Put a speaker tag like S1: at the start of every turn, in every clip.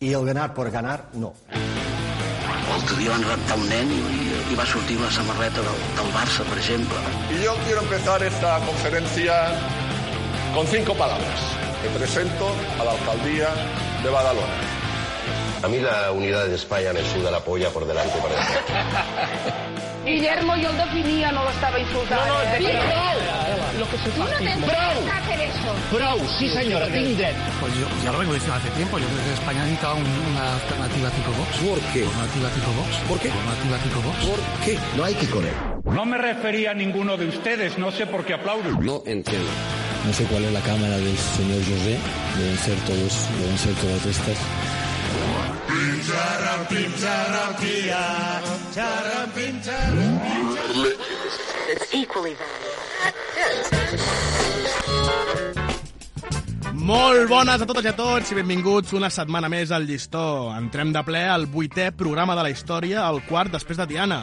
S1: Y el ganar por ganar, no.
S2: L'altre dia van raptar un nen i, i va sortir una samarreta del, del Barça, per exemple.
S3: Yo quiero empezar esta conferencia con cinco palabras. Me presento a la alcaldía de Badalona.
S4: A mí la unidad de España me suda la polla por delante y por detrás.
S5: Guillermo, yo el definia, no lo estaba insultando. No, no, eh? Prou! Lo que se Tú no tendrías
S6: Prou!
S5: que hacer eso.
S6: Prou, sí señora, tinc dret.
S7: Pues yo ya lo vengo diciendo hace tiempo. Yo creo que España necesita un- una alternativa tipo Vox.
S4: ¿Por qué?
S7: Alternativa tipo Vox.
S4: ¿Por qué?
S7: Alternativa tipo Vox.
S4: ¿Por qué? No hay que correr.
S8: No me refería a ninguno de ustedes, no sé por qué aplauden.
S4: No entiendo.
S9: No sé cuál es la cámara del señor José. Deben ser todos, deben ser todas estas.
S6: Molt bones a totes i a tots i benvinguts una setmana més al Llistó. Entrem de ple al vuitè programa de la història, el quart després de Tiana.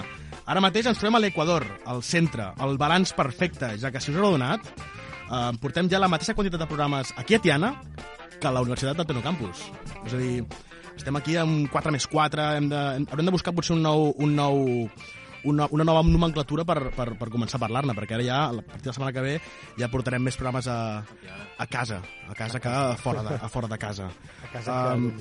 S6: Ara mateix ens trobem a l'Equador, al centre, el balanç perfecte, ja que si us heu adonat, eh, portem ja la mateixa quantitat de programes aquí a Tiana que a la Universitat del Tecnocampus. És a dir, estem aquí amb 4 més 4, hem de, hem, haurem de buscar potser un nou, un nou, una, una nova nomenclatura per, per, per començar a parlar-ne, perquè ara ja, a partir de la setmana que ve, ja portarem més programes a, a casa, a casa que a fora de, a fora de casa. A casa que um,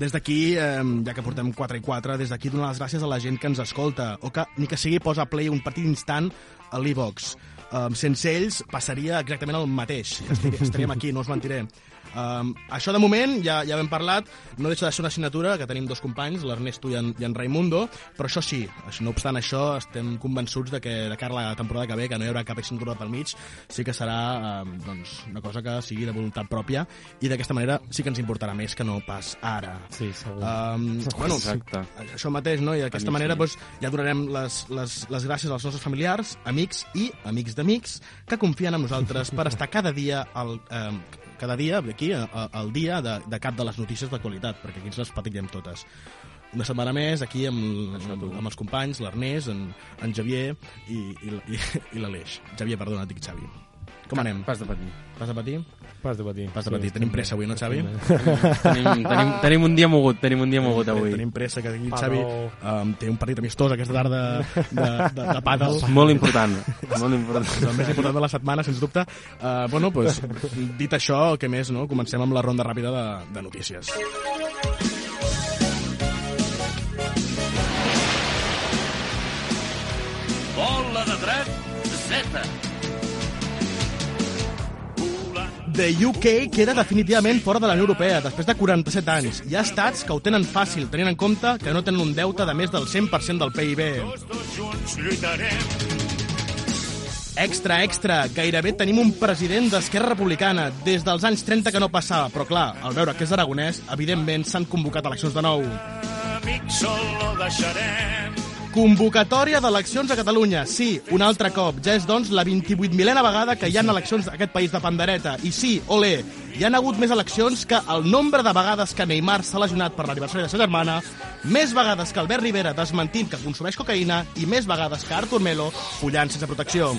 S6: des d'aquí, eh, ja que portem 4 i 4, des d'aquí donar les gràcies a la gent que ens escolta, o que, ni que sigui, posa play un partit instant a l'Evox. Um, sense ells passaria exactament el mateix. Estir, estaríem aquí, no us mentiré. Um, això de moment, ja, ja hem parlat, no deixa de ser una assignatura, que tenim dos companys, l'Ernesto i, en, i en Raimundo, però això sí, això- no obstant això, estem convençuts de que de cara a la temporada que ve, que no hi haurà cap assignatura pel mig, sí que serà um, doncs, una cosa que sigui de voluntat pròpia i d'aquesta manera sí que ens importarà més que no pas ara.
S9: Sí, segur.
S6: Um, bueno, Exacte. això mateix, no? I d'aquesta manera doncs, ja donarem les, les, les gràcies als nostres familiars, amics i amics d'amics que confien en nosaltres per estar cada dia al, um, cada dia aquí, a- a- al dia de, de cap de les notícies d'actualitat, perquè aquí ens les patillem totes. Una setmana més, aquí amb, amb, amb els companys, l'Ernest, en, en Xavier i, i, l- i, i l'Aleix. Xavier, perdona, et dic Xavi. Com anem?
S10: Pas de patir.
S6: Vas a patir?
S9: Pas de patir.
S6: Vas a patir. Tenim pressa avui, no, Xavi?
S10: Tenim, tenim, tenim un dia mogut, tenim un dia mogut avui.
S6: Tenim pressa, que aquí el
S9: Pàdel.
S6: Xavi um, té un partit amistós aquesta tarda de, de, de pàdel.
S10: És molt important, molt important.
S6: És el més important de la setmana, sens dubte. Uh, bueno, pues, dit això, què més, no? Comencem amb la ronda ràpida de, de notícies.
S8: Bola de dret, Z.
S6: The UK queda definitivament fora de la Unió Europea després de 47 anys. Hi ha estats que ho tenen fàcil, tenint en compte que no tenen un deute de més del 100% del PIB.
S8: Els dos junts lluitarem.
S6: Extra, extra, gairebé tenim un president d'Esquerra Republicana des dels anys 30 que no passava, però clar, al veure que és aragonès, evidentment s'han convocat eleccions de nou.
S8: Amics, sol no deixarem.
S6: Convocatòria d'eleccions a Catalunya. Sí, un altre cop. Ja és, doncs, la 28.000a vegada que hi ha eleccions a aquest país de pandereta. I sí, ole, hi han hagut més eleccions que el nombre de vegades que Neymar s'ha lesionat per l'aniversari de sa germana, més vegades que Albert Rivera desmentint que consumeix cocaïna i més vegades que Artur Melo follant sense protecció.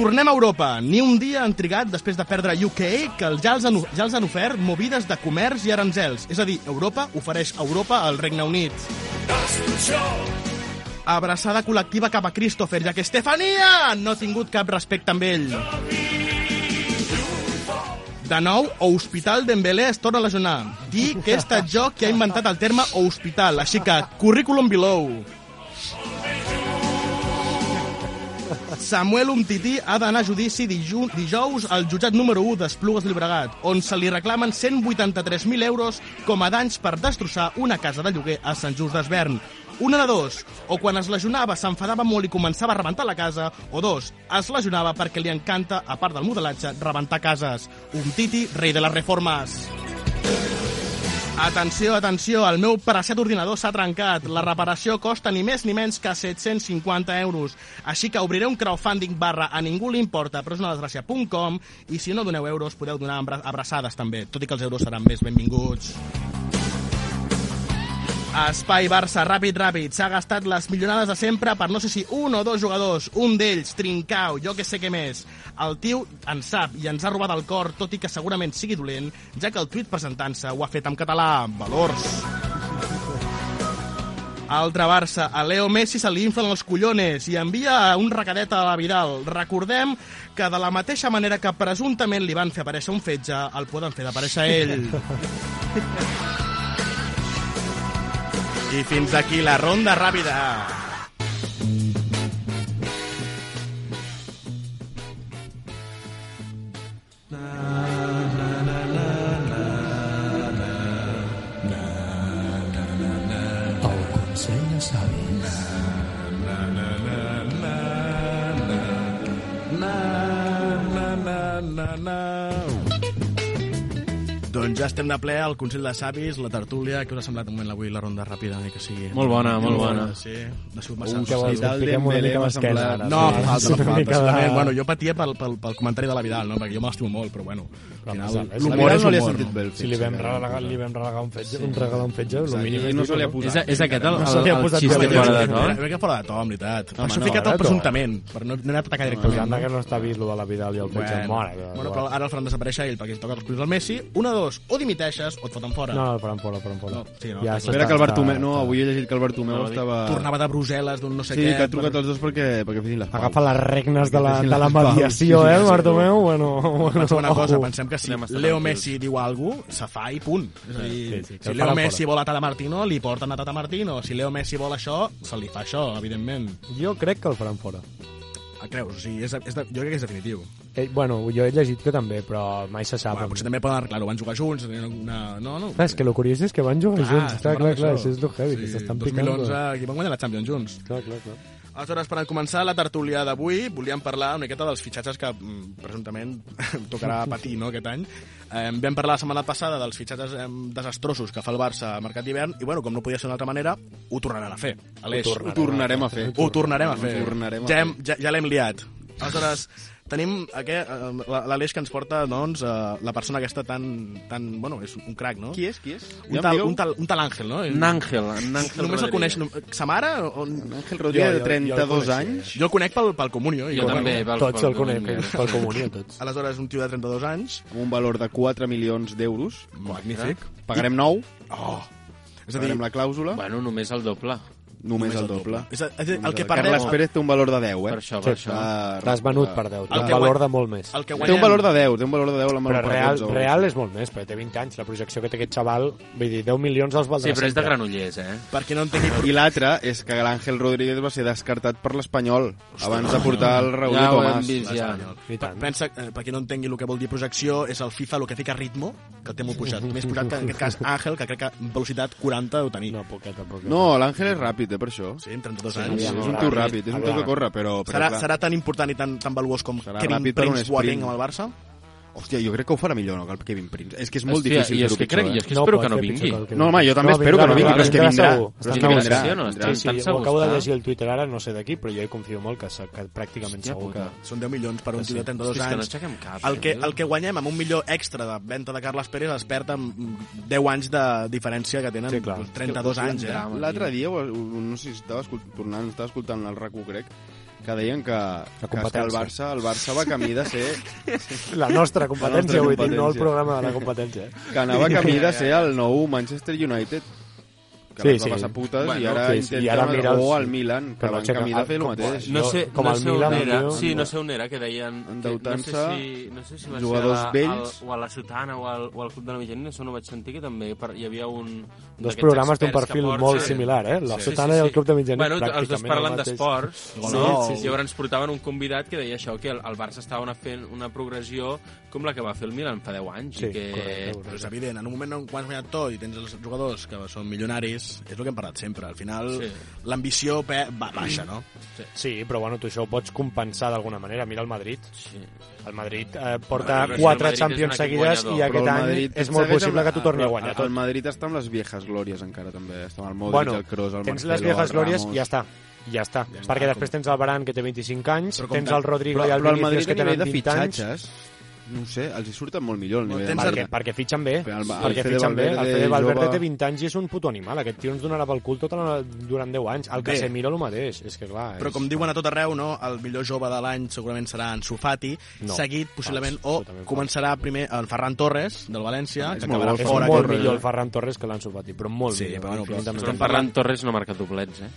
S6: Tornem a Europa. Ni un dia han trigat, després de perdre UK, que els- ja els han, ja els han ofert movides de comerç i aranzels. És a dir, Europa ofereix a Europa al Regne Unit. Abraçada col·lectiva cap a Christopher, ja que Estefania no ha tingut cap respecte amb ell. De nou, Hospital Dembélé es torna a lesionar. Dir que he estat jo qui ha inventat el terme hospital, així que currículum below. Samuel Umtiti ha d'anar a judici diju dijous al jutjat número 1 d'Esplugues de Llobregat, on se li reclamen 183.000 euros com a danys per destrossar una casa de lloguer a Sant Just d'Esvern. Una de dos, o quan es lesionava s'enfadava molt i començava a rebentar la casa, o dos, es lesionava perquè li encanta, a part del modelatge, rebentar cases. Umtiti, rei de les reformes. Atenció, atenció, el meu paracet ordinador s'ha trencat. La reparació costa ni més ni menys que 750 euros. Així que obriré un crowdfunding barra a ningú li importa, però és una desgràcia.com i si no doneu euros podeu donar abra- abraçades també, tot i que els euros seran més benvinguts. Espai Barça, ràpid, ràpid. S'ha gastat les millonades de sempre per no sé si un o dos jugadors. Un d'ells, Trincau, jo que sé què més. El tio en sap i ens ha robat el cor, tot i que segurament sigui dolent, ja que el tuit presentant-se ho ha fet en català. Valors. Altre Barça, a Leo Messi se li inflen els collones i envia un recadet a la Vidal. Recordem que de la mateixa manera que presumptament li van fer aparèixer un fetge, el poden fer aparèixer ell. I fins aquí la ronda ràpida.
S9: El Consell de Savis.
S6: Doncs ja estem de ple al Consell de Savis, la tertúlia. Què us ha semblat de moment avui la ronda ràpida? Ni que sigui?
S10: Molt bona, molt bona.
S6: Sí, ha sigut massa.
S1: que vols, que piquem una mica masquesa, ara.
S6: No,
S1: Sí,
S6: fa falta,
S1: sí,
S6: no fa
S1: una
S6: falta.
S1: mica de-
S6: segurament. Bueno, jo patia pel, pel, pel comentari de la Vidal, no? perquè jo me l'estimo molt, però bueno, al final
S1: la
S6: l'humor
S1: Vidal
S6: és
S1: no li ha
S6: humor.
S1: sentit
S6: no?
S1: Si li vam relegar, li vam relegar un fetge, un regalar un fetge, el mínim
S9: I no se li ha
S10: És,
S9: posat.
S10: és aquest el,
S1: No se
S10: el,
S1: li ha
S10: el,
S1: posat
S10: xiste
S1: cap
S10: fora de
S1: lletra.
S10: to?
S6: Una mica fora de to, en veritat. Per això
S1: no,
S6: he ficat
S1: fora de
S6: el
S1: to.
S6: presuntament, per no, no anar a atacar
S1: Pues
S6: directament.
S1: anda que no està vist lo de la Vidal i el fetge bueno, mora. Que,
S6: bueno, però ara el faran desaparèixer ell perquè toca els collons al Messi. Una, dos, o dimiteixes o et foten fora.
S1: No, no, el faran fora, el faran fora.
S6: No, sí, no,
S1: ja s'està-
S6: està clar.
S1: està-
S9: Espera que el Bartomeu...
S1: està-
S9: No, avui he llegit que el Bartomeu estava...
S6: Tornava de Brussel·les d'un no sé
S9: Sí,
S6: què.
S9: que ha trucat els dos perquè, perquè fessin les paus.
S1: Agafa les regnes de la,
S9: Sí,
S1: de la
S9: les paus.
S1: mediació,
S9: Sí, sí,
S1: eh,
S9: sí.
S1: Bartomeu? Bueno, bueno,
S6: Pensem una cosa,
S1: ojo.
S6: pensem que si
S9: Anem a estar
S6: Leo
S9: tranquils.
S6: Messi diu alguna cosa, se fa i punt. És a dir,
S1: sí, sí, que
S6: si
S1: el
S6: Leo
S1: faran
S6: Messi vol a Tata Martino, li porten a Tata Martino. Si Leo Messi vol això, se li fa això, evidentment.
S1: Jo crec que el faran fora.
S6: A creus, o sigui, és, és de, jo crec que és definitiu.
S1: Eh, bueno, jo he llegit que també, però mai se sap.
S6: Bueno, potser també poden arreglar-ho, van jugar junts, tenien una... No, no.
S1: Clar, és que lo curiós és que van
S6: Ah,
S1: jugar
S9: Ah,
S1: junts. Clar, clar, clar,
S6: això
S1: això és lo heavy, que s'estan picant.
S6: 2011, aquí van guanyar la Champions junts.
S1: Clar, clar, clar.
S6: Aleshores, per començar la tertúlia d'avui, volíem parlar una miqueta dels fitxatges que mm, presumptament tocarà patir no, aquest any. Eh, vam parlar la setmana passada dels fitxatges eh, desastrosos que fa el Barça a mercat d'hivern i, bueno, com no podia ser d'una altra manera, ho tornaran a fer. Aleix, ho,
S9: Ho tornarem a fer.
S6: ho tornarem a fer.
S9: Ho tornarem a
S6: ja
S9: fer.
S6: hem, ja, ja l'hem liat. Aleshores, tenim aquest, eh, la- l'Aleix que ens porta doncs, eh, la persona aquesta tan, tan... Bueno, és un crac, no?
S9: Qui és, qui és? Ja
S6: Un
S9: em
S6: tal,
S9: direu?
S6: un tal, un tal Àngel, no?
S10: En Àngel, en Àngel
S6: Només el coneix...
S10: Rodríguez.
S6: nom- Sa mare? On...
S9: Ángel
S1: Jo-
S9: Rodríguez, de
S1: jo- jo el
S9: 32
S1: coneixia.
S9: anys.
S6: Jo el conec pel, pel Comunio. I
S10: Jo
S6: com-
S10: també, pel-
S1: Tots
S10: pel
S1: el conec, eh.
S10: Comunio.
S1: pel comunió, tots.
S6: Aleshores, un tio de 32 anys.
S9: Amb un valor de 4 milions d'euros.
S6: Magnífic.
S9: Pagarem 9,
S6: Oh! És a dir,
S9: pagarem la clàusula,
S10: Bueno, només el doble.
S9: només el doble.
S6: És a, és a dir, el
S9: Només
S6: que
S9: Carles
S6: parlem...
S9: Pérez té un valor de 10, eh?
S10: Per això, per això.
S9: Ah,
S1: T'has venut per 10.
S6: El
S1: Té un
S6: que guany-
S1: valor de molt més.
S6: El que
S9: Té
S6: guanyem...
S9: un valor de 10, té un valor de 10 la mano
S1: Però real, real és molt més, perquè té 20 anys. La projecció que té aquest xaval, vull dir, 10 milions els valdrà
S10: Sí, però és de
S1: sempre.
S10: Granollers, eh?
S6: Per qui no entengui...
S9: I l'altre és que l'Àngel Rodríguez va ser descartat per l'Espanyol abans de portar el Raúl
S10: Ja
S9: de
S10: ho hem
S9: Tomàs.
S10: vist, ja.
S1: I tant.
S6: Pensa, eh, per qui no entengui el que vol dir projecció, és el FIFA el que fica ritmo, que el té molt pujat. Més pujat que, en aquest cas, Àngel, que crec que velocitat 40 ho tenia.
S1: No, poqueta, poqueta.
S9: No, l'Àngel és ràpid, eh, per això.
S6: Sí, amb 32
S9: És,
S6: anys.
S9: és un tio ràpid, és un tio que corre, però... però
S6: Serà,
S9: clar.
S6: serà tan important i tan, tan valuós com
S9: Serà
S6: Kevin
S9: ràpid per un
S6: Prince Boateng
S9: sprint.
S6: amb el Barça?
S9: Hòstia, jo crec que ho farà millor, no, que el Kevin Prince. És que és molt
S10: Hòstia,
S9: difícil
S10: i és
S9: fer-ho
S10: que crec-
S9: pitjor, eh.
S10: i és que espero que no
S1: pitjor
S10: vingui.
S1: el que
S9: No, home, jo també
S1: vindrà,
S9: espero que no
S1: vindrà,
S9: vingui, però és que
S1: vindrà
S9: vindrà.
S1: segur.
S9: Però és
S1: Estan
S9: que
S1: negociant.
S10: vindrà, no?
S1: Sí, sí,
S10: Estan
S1: ho acabo de
S10: segurs,
S1: llegir el Twitter ara, no sé d'aquí, però jo hi confio molt que, se- que pràcticament
S10: Hòstia
S1: segur que...
S10: puta.
S6: Són 10 milions
S1: Ah,
S6: per un tio de 32
S10: Hòstia, és que no
S6: anys.
S10: aixequem cap,
S6: el, que,
S10: eh?
S6: el que guanyem amb un millor extra de venda de Carles Pérez es perd amb mm, 10 anys de diferència que tenen
S1: Sí, clar.
S6: doncs, 32 anys. Eh?
S9: L'altre dia, ho- ho- no sé si estava escol- tornant, estava escoltant el RAC1, crec, que deien que, que, és que el,
S1: competència.
S9: Barça, el Barça va camí de ser...
S1: La nostra competència,
S9: La nostra
S1: vull dir, no el
S9: competència.
S1: programa de la competència. eh?
S9: que anava camí de ser el nou Manchester United que
S1: Sí,
S9: les va
S1: sí.
S9: passar putes
S10: Bueno,
S9: i ara
S1: sí, sí,
S9: intenta
S1: i ara mira els-
S9: o al Milan que
S1: però
S9: van
S1: aixeca-
S9: camí de fer el
S1: com-
S9: mateix
S10: No sé,
S1: com
S10: no
S1: el
S10: sé
S1: Milan,
S10: on era,
S1: jo-
S10: sí, no sé on era, que deien... que-
S9: Endeutant-se,
S10: no sé si, no sé si va ser
S9: jugadors
S10: a la,
S9: vells.
S10: Al, o a la Sotana o al, o al Club de la Mitjanina, això no ho vaig sentir, que també per, hi havia un... un
S1: Dos
S10: d'aquests
S1: programes d'un
S10: experts que
S1: perfil
S10: porten-
S1: molt similar, eh? La Sotana i el Club de Mitjanit,
S10: Bueno, els dos
S1: pràcticament el
S10: parlen
S1: mateix.
S10: d'esports. Sí,
S6: Sí, sí,
S10: no? sí,
S6: sí.
S10: sí. Llavors ens portaven un convidat que deia això, que el, el Barça estava una, fent una progressió com la que va fer el Milan fa 10 anys.
S1: Sí,
S10: i que...
S1: correcte, correcte.
S6: Però és evident, en un moment en quan has guanyat tot i tens els jugadors que són milionaris, és el que hem parlat sempre. Al final,
S10: Sí.
S6: l'ambició pe- va, baixa, no?
S1: Sí, però bueno, tu això ho pots compensar d'alguna manera. Mira el Madrid.
S10: Sí.
S1: El Madrid eh, porta
S10: Bueno, però és que el
S1: quatre
S10: Madrid és un
S1: Champions
S10: equip
S1: seguides
S10: guanyador.
S1: i
S9: Però
S1: aquest
S9: el
S1: any
S9: Madrid
S1: és molt
S9: segueix
S1: possible
S9: amb-
S1: que t'ho torni a
S9: el-
S1: guanyar
S9: el,
S1: tot.
S9: Madrid està amb les viejas glòries encara també està amb el Modric,
S1: Bueno,
S9: el Kroos, el
S1: tens
S9: Marcelo,
S1: les viejas
S9: el
S1: glòries
S9: Ramos.
S1: i ja està. Ja està.
S6: Ja està,
S1: Perquè després
S6: com-
S1: tens el Baran, que té 25 anys,
S6: Però com
S1: tens
S6: que-
S1: el Rodrigo
S9: però,
S1: i el
S9: però el
S1: Vinícius,
S9: Madrid
S1: que
S9: a nivell
S1: tenen
S9: de
S1: 20 anys.
S9: fitxatges no ho sé, els hi surten molt millor el nivell. de
S1: perquè,
S9: Madrid.
S1: perquè fitxen bé.
S9: Perquè el- el
S1: perquè
S9: Fede
S1: fitxen bé. El
S9: Valverde
S1: Fede Valverde
S9: jove-
S1: té 20 anys i és un puto animal. Aquest tio ens donarà pel cul tota la, durant 10 anys. El
S6: Bé.
S1: Casemiro el mateix. És que clar...
S6: Però
S1: és-
S6: com diuen a tot arreu, no? el millor jove de l'any segurament serà en Sufati,
S1: No.
S6: seguit possiblement,
S1: Fals,
S6: o
S1: absolutament fals.
S6: començarà primer el Ferran Torres, del València,
S9: Ah, és
S6: que
S9: molt
S6: acabarà
S9: bo,
S1: És
S6: fora.
S9: Ferran
S1: molt
S9: Torres,
S1: millor
S9: eh?
S1: el Ferran Torres que l'Ansu Fati, però molt
S6: Sí,
S1: millor.
S6: però bueno, però
S1: infinitament.
S10: Però en Ferran Torres no marca doblets, eh?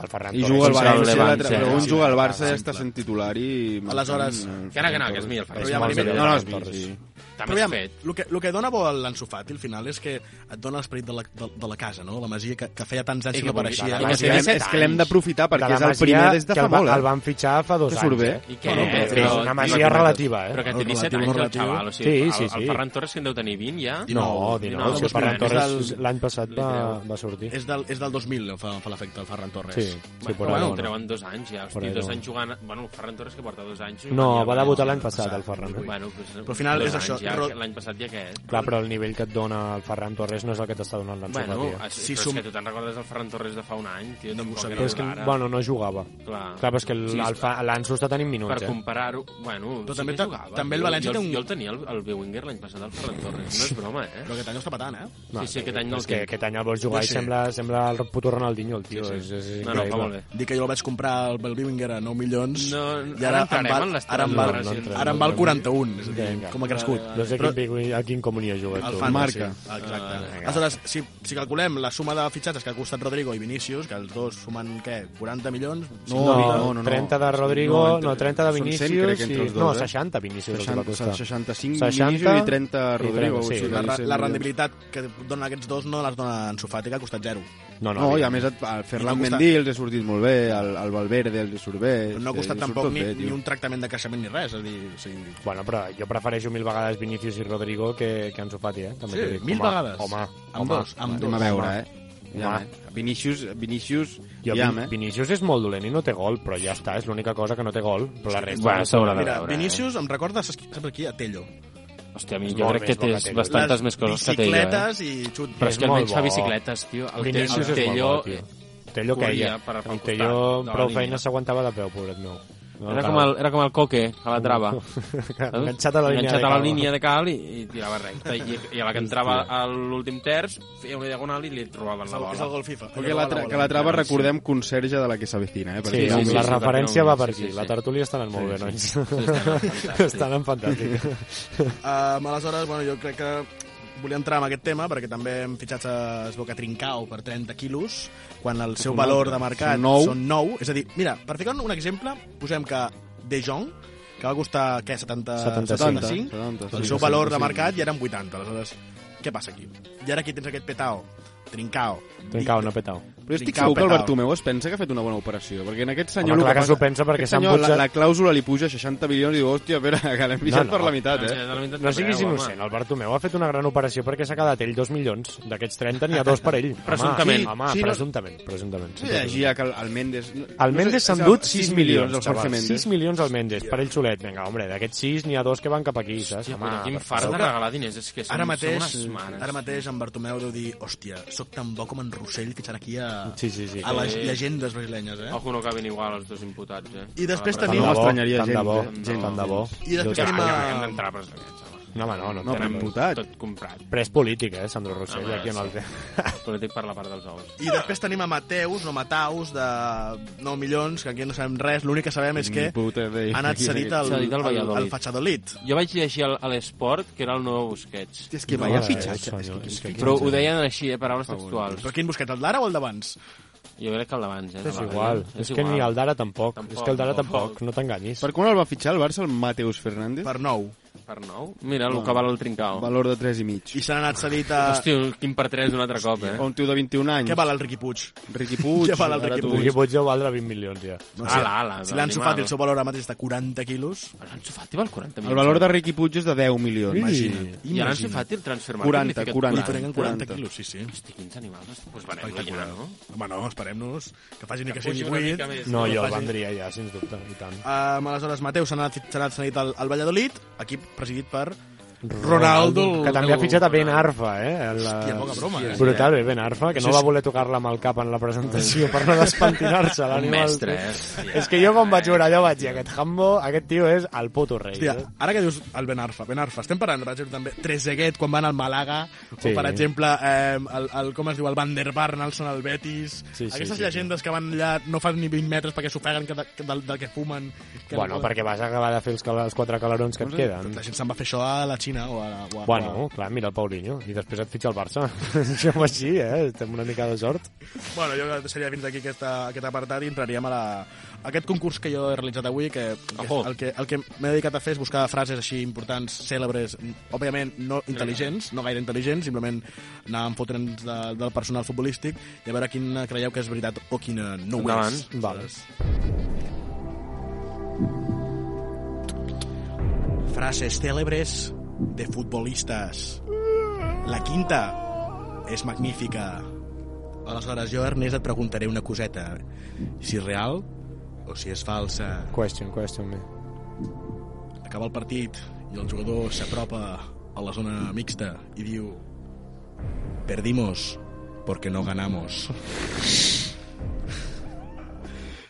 S1: El Ferran
S9: I
S1: Torres.
S9: juga al
S10: Sí,
S9: València, l'altre-
S10: el Levante,
S9: però un
S10: sí,
S9: juga al
S6: sí,
S9: Barça i
S6: sí,
S9: està
S6: clar.
S9: sent titular i...
S6: Aleshores,
S10: Que no, que no, que és millor el Ferran.
S1: És
S6: ja
S1: molt
S6: m'animem.
S1: millor
S9: No, no,
S1: el
S9: és
S1: Ferran Torres.
S9: sí.
S10: També
S6: Però
S10: és fet.
S6: el que, el que dona bo a l'Ensufati al final és que et dona l'esperit de, la, de, de, la casa, no? la masia que, que feia tants anys
S10: I
S6: que
S10: que
S6: no apareixia.
S10: bonic,
S6: I
S10: la
S6: que
S9: És que
S10: masia.
S6: segueix-
S9: l'hem- és que l'hem de aprofitar perquè és el primer des de
S1: que
S9: fa
S1: el, va-
S9: molt,
S1: El
S9: eh?
S1: van fitxar fa dos
S9: Que surt
S1: anys.
S9: bé.
S1: Eh?
S10: I què?
S1: Bueno,
S10: Però-
S1: però és una masia
S10: però-
S1: relativa, eh?
S10: Però que té
S6: Relatiu,
S10: 17
S6: no
S10: anys, el
S6: relatiu.
S10: xaval. O sigui,
S1: Sí, sí,
S10: el,
S1: sí.
S10: el Ferran Torres que en deu tenir 20 ja.
S1: No, 19, si el Ferran
S10: dos mil
S6: És
S1: Torres
S6: del-
S1: l'any passat va,
S10: Literal.
S1: va sortir.
S6: és, del, és del 2000, fa, fa l'efecte, el Ferran Torres.
S1: Sí, sí, por
S10: Bueno, bueno,
S1: ahí,
S10: ho
S1: bueno.
S10: treuen dos anys ja,
S1: Por ahí
S10: hosti, dos
S1: no.
S10: anys jugant... Bueno, Ferran Torres que porta dos anys...
S1: No,
S10: jugant
S1: va
S10: ja,
S1: debutar
S10: bueno,
S1: l'any passat, el Ferran. eh?
S10: Bueno, doncs,
S6: Però al final
S10: dos
S6: és
S10: anys
S6: això,
S10: Ja,
S6: Ro-
S10: L'any passat ja aquest.
S1: Clar, però el nivell que et dona el Ferran Torres no és el que t'està donant l'Ansu
S10: Bueno,
S1: Fati, eh?
S10: es,
S6: Si
S10: si però
S6: som-
S10: és que tu te'n recordes del Ferran Torres de fa un any, tio, no tampoc
S1: Però és que,
S10: ara.
S1: bueno, no jugava.
S10: Clar.
S1: Clar, però és que el-
S10: Sí, és-
S1: el Fa- l'Ansu està tenint minuts,
S10: per
S1: eh?
S10: comparar-ho... Bueno,
S6: Però
S10: sí
S6: també
S10: que
S6: ta-
S10: jugava,
S6: també el
S10: tio.
S6: València
S10: jo,
S6: té un-
S10: Jo el tenia, el, el Bewinger, l'any passat, el Ferran Torres. No és broma, eh?
S6: Però aquest any ho està patant, eh?
S10: sí, sí, aquest any no el
S1: és que
S10: tinc.
S1: aquest any el vols jugar
S6: No
S1: i
S6: sé.
S1: sembla, sembla el puto Ronaldinho, el tio. És, és
S10: No, no, fa
S1: increïble.
S10: molt bé.
S6: Dir que jo el vaig comprar al Belbinger a 9 milions
S10: No, no,
S6: i ara,
S10: ara
S6: em
S10: entrarem en
S6: va,
S10: les
S6: ara, em va,
S10: No, no
S1: entrem,
S6: ara em
S1: no
S6: va el
S1: entrem.
S6: 41, és a dir,
S1: Vinga.
S6: com ha crescut.
S1: No sé quin, pingüí- a quin comunia jugues
S6: El
S1: tu.
S6: fan
S9: Marca.
S6: Sí, exacte. Aleshores, si, si calculem la suma de fitxatges que ha costat Rodrigo i Vinícius, que els dos sumen, què, 40 milions?
S9: No, no, no, no.
S1: 30 de Rodrigo, no,
S9: entre-
S1: 30 de
S9: són
S1: Vinícius.
S9: 100 crec, entre
S1: i,
S9: els dos,
S1: no,
S9: eh?
S1: 60 Vinícius els va
S9: 60,
S1: costar.
S9: 65
S1: 60
S9: Vinícius i 30
S1: i
S9: Rodrigo.
S1: 30, sí,
S9: o sigui,
S6: La, ra-
S9: cent
S6: la
S9: milions.
S6: rendibilitat que donen aquests dos no les dona en Sufati, que ha costat zero.
S1: No, no,
S9: No, i a
S1: evidentment.
S9: més et- al Ferran
S6: no ha costat-
S9: Mendy els ha sortit molt bé, al, al Valverde els hi surt bé...
S6: Però no ha
S9: és que els
S6: costat
S9: hi surt
S6: tampoc
S9: tot
S6: ni,
S9: bé,
S6: ni
S9: tio.
S6: un tractament de creixement ni res. És a dir, o sigui,
S1: Bueno, però jo prefereixo mil vegades Vinícius i Rodrigo que, que Ansu Fati, eh? També
S6: Sí,
S1: t'ho dic.
S6: mil
S1: home,
S6: vegades.
S1: Home,
S6: Amb
S1: home.
S6: dos, amb
S9: Anem a
S6: dos.
S9: veure,
S1: Home.
S9: eh? Ja,
S1: Home.
S9: eh? Vinícius, Vinícius,
S1: Jo,
S9: ja,
S1: Vin-
S9: eh?
S1: Vinícius és molt dolent i no té gol, però ja està, és l'única cosa que no té gol. Però la resta...
S10: Bueno, s'haurà de
S6: Mira,
S10: veure.
S6: Vinícius em recorda, saps qui- saps aquí, a Tello.
S10: Eh? Hòstia, a mi
S1: És
S10: jo
S1: molt
S10: crec
S1: més
S10: que
S1: bo que
S10: tens
S1: Tello.
S10: bastantes més coses que té jo, eh?
S6: Bicicletes i xut.
S10: Però
S1: És
S10: és que
S1: molt
S10: almenys fa
S1: bo.
S10: bicicletes, tio. El, te,
S1: Vinícius
S10: el
S1: és molt
S10: Tello...
S1: bo, tio. Tello que
S10: corria
S1: ella.
S10: per- per
S1: El
S10: costat
S1: Tello
S10: de la
S1: prou
S10: línia.
S1: feina s'aguantava de peu, pobret meu. No,
S10: Era
S1: cal.
S10: com, el, era com el coque, a la trava.
S1: Enganxat a la línia
S10: Enganxat
S1: de
S10: a la
S1: cal.
S10: línia de cal i, i tirava recte. I, I a la que entrava a l'últim terç, feia una diagonal i li trobaven
S6: És
S10: la
S6: el,
S10: bola.
S6: és el gol FIFA.
S9: Perquè la, tra que la trava recordem conserge de la que s'avecina, eh?
S1: Sí,
S9: Perquè
S1: sí,
S10: sí,
S1: sí,
S10: sí,
S1: la
S10: sí,
S1: referència va per
S10: sí, sí,
S1: aquí.
S10: sí.
S1: La tertúlia estan en molt bé, nois.
S10: fantàstic.
S1: estan en fantàstic.
S6: Um, aleshores, bueno, jo crec que volia entrar en aquest tema perquè també hem fitxat a Esboca Trincao per 30 quilos quan el seu valor de mercat
S9: Són nou.
S6: són 9 és a dir, mira, per ficar un exemple posem que De Jong que va costar, què, 70,
S1: 75.
S6: 75
S9: 70,
S6: el
S9: sí,
S6: seu valor de
S9: 75.
S6: mercat ja era en 80 aleshores, què passa aquí? i ara aquí tens aquest petao, Trincao
S1: Trincao, no petao.
S9: Però jo estic
S6: Trincao,
S9: segur que el
S6: petao.
S9: Bartomeu es pensa que ha fet una bona operació, perquè en aquest
S1: Home,
S9: senyor... el
S1: clar que
S9: passa-
S1: s'ho pensa, perquè
S9: aquest
S1: s'han
S9: senyor,
S1: putjat-
S9: La, la clàusula li puja 60 milions i diu, hòstia, a veure, que l'hem pixat
S1: no.
S9: per la meitat, eh?
S1: No siguis innocent, el Bartomeu ha fet una gran operació perquè s'ha quedat ell 2 milions. D'aquests 30 n'hi ha dos per ell. Home,
S10: Presumptament.
S1: Home,
S9: Sí, sí, no-
S1: presumptament, presumptament.
S9: Jo llegia que el, el Mendes... no-
S1: El
S9: no
S1: Mendes
S9: sé,
S1: s'han
S9: és el-
S1: dut 6
S9: sis
S1: milions,
S9: el Jorge
S1: xaval.
S9: Mendes.
S1: 6 milions al Mendes, per ell solet. Vinga, home, d'aquests 6 n'hi ha dos que van cap aquí, saps?
S10: Hòstia,
S1: Home,
S10: puta, quin
S1: per
S10: fart
S1: favor.
S10: de regalar diners. És que som,
S6: ara mateix,
S10: som unes mares.
S6: ara mateix en Bartomeu deu dir, hòstia, sóc tan bo com en Rossell que serà aquí a,
S1: Sí, sí, sí.
S6: a les
S10: Sí.
S6: llegendes brasilenyes eh?
S10: Ojo, no caben igual els dos imputats, eh?
S6: I després
S10: A la
S1: Tant
S6: tenim-
S1: de
S6: No
S1: bo,
S9: m'estranyaria
S1: tant de
S9: gens,
S1: bo,
S9: eh?
S1: Mm. tant de bo.
S6: I després
S1: Jo-
S6: tenim
S10: presó.
S6: a-
S10: Ah, que hem d'entrar a presó, aquests, home.
S1: No, home, no, no.
S9: No,
S1: tenen-
S9: però imputat.
S10: Tot comprat.
S1: Però és polític, eh, Sandro Rossell,
S10: Home,
S1: aquí en el...
S10: sí. Polític per la part dels ous.
S6: I després tenim a Mateus, o Mataus, de 9 milions, que aquí no sabem res, l'únic que sabem és que
S9: Ni puta idea.
S6: ha anat cedit al,
S10: Cedit al
S6: al, al,
S10: Valladolid.
S6: Fachadolit.
S10: Jo vaig llegir al- a l'esport que era el nou Busquets.
S9: Hòstia, és que
S1: No,
S9: vaya
S1: eh,
S9: fitxatge.
S1: senyor,
S9: és que quin
S1: és que
S9: fitxatge.
S10: Però ho deien així, eh, paraules textuals.
S6: Però quin busquet, el d'ara o el d'abans?
S10: Jo crec que el d'abans, eh?
S1: És igual. És que ni el d'ara tampoc. És que el d'ara tampoc, no t'enganyis.
S9: Per quan el va fitxar el Barça, el Mateus Fernández?
S6: Per 9.
S10: Per nou? Mira, el que val el trincao. Val...
S9: Valor de 3 i mig.
S6: I se n'ha anat cedit a...
S10: Hòstia, quin per tres d'un altre cop, eh?
S9: O un tio de 21 anys.
S6: Què val el Riqui Puig?
S9: Riqui Puig.
S6: Què val el
S9: ara
S6: Riqui
S9: tu-
S1: Riqui Puig deu valdre 20 milions, ja.
S10: Ala, ala.
S6: Si l'han sofat el seu valor ara mateix és de 40 quilos,
S10: L'Anso Fati val 40 milions.
S9: El valor de Riqui Puig és de 10 milions.
S6: imagina't.
S10: I l'Anso
S6: imagina't.
S10: Fati el transfer
S9: 40, 40.
S6: Li freguen 40
S9: 40.
S6: quilos, sí, sí.
S10: Hosti, quins animals. Doncs venem-lo ja, no?
S6: Home, no, esperem-nos que facin que
S10: Pugi
S6: sigui
S10: una mica
S6: 8.
S10: més.
S1: No, jo el vendria ja, sens dubte, i tant.
S6: Um, aleshores, Mateu se n'ha anat, se n'ha anat cedit al, al Valladolid, equip presidit per Ronaldo,
S1: que també ha fitxat a Ben Arfa, eh? El,
S6: Hòstia, poca broma, eh?
S1: Brutal, eh? Ben Arfa, que
S6: Això
S1: no
S6: és-
S1: va voler tocar-la amb el cap en la presentació per no despentinar-se.
S10: Un
S1: l'animal.
S10: mestre, eh? Hòstia.
S1: És que jo quan vaig veure allò vaig dir, aquest Hambo, aquest tio és el puto rei.
S6: Hòstia,
S1: eh?
S6: ara que dius el Ben Arfa, Ben Arfa, estem parlant, per exemple, també Trezeguet quan van al Malaga, sí.
S1: Sí.
S6: o per exemple, eh, el, el, com es diu, el Van der Barn, el San Albetis,
S1: Sí, sí,
S6: sí, aquestes
S1: sí,
S6: sí, llegendes sí. que van allà, no fan ni 20 metres perquè s'ofeguen que de, que del, del que fumen. Que
S1: Bueno,
S6: no poden-
S1: perquè vas acabar de fer els, cal- els quatre calarons que et queden.
S6: tota La gent se'n va fer això a la Xina o a la... O a, o
S1: Bueno, clar, mira el Paulinho, i després et fitxa el Barça. Això va així, eh? Estem una mica de sort.
S6: a... bueno jo crec que seria fins aquí aquesta, aquest apartat i entraríem a, la, a aquest concurs que jo he realitzat avui, que, que
S10: Ojo.
S6: el que, el que m'he dedicat a fer és buscar frases així importants, cèlebres, òbviament no intel·ligents, no gaire intel·ligents, simplement anar enfotent de, del personal futbolístic i a veure quina creieu que és veritat o quina no ho és.
S10: Endavant.
S1: Val.
S6: Frases célebres de futbolistas. La quinta és magnífica. Aleshores, jo, Ernest, et preguntaré una coseta. Si és real o si és falsa.
S1: Question, question me.
S6: Acaba el partit i el jugador s'apropa a la zona mixta i diu Perdimos porque no ganamos.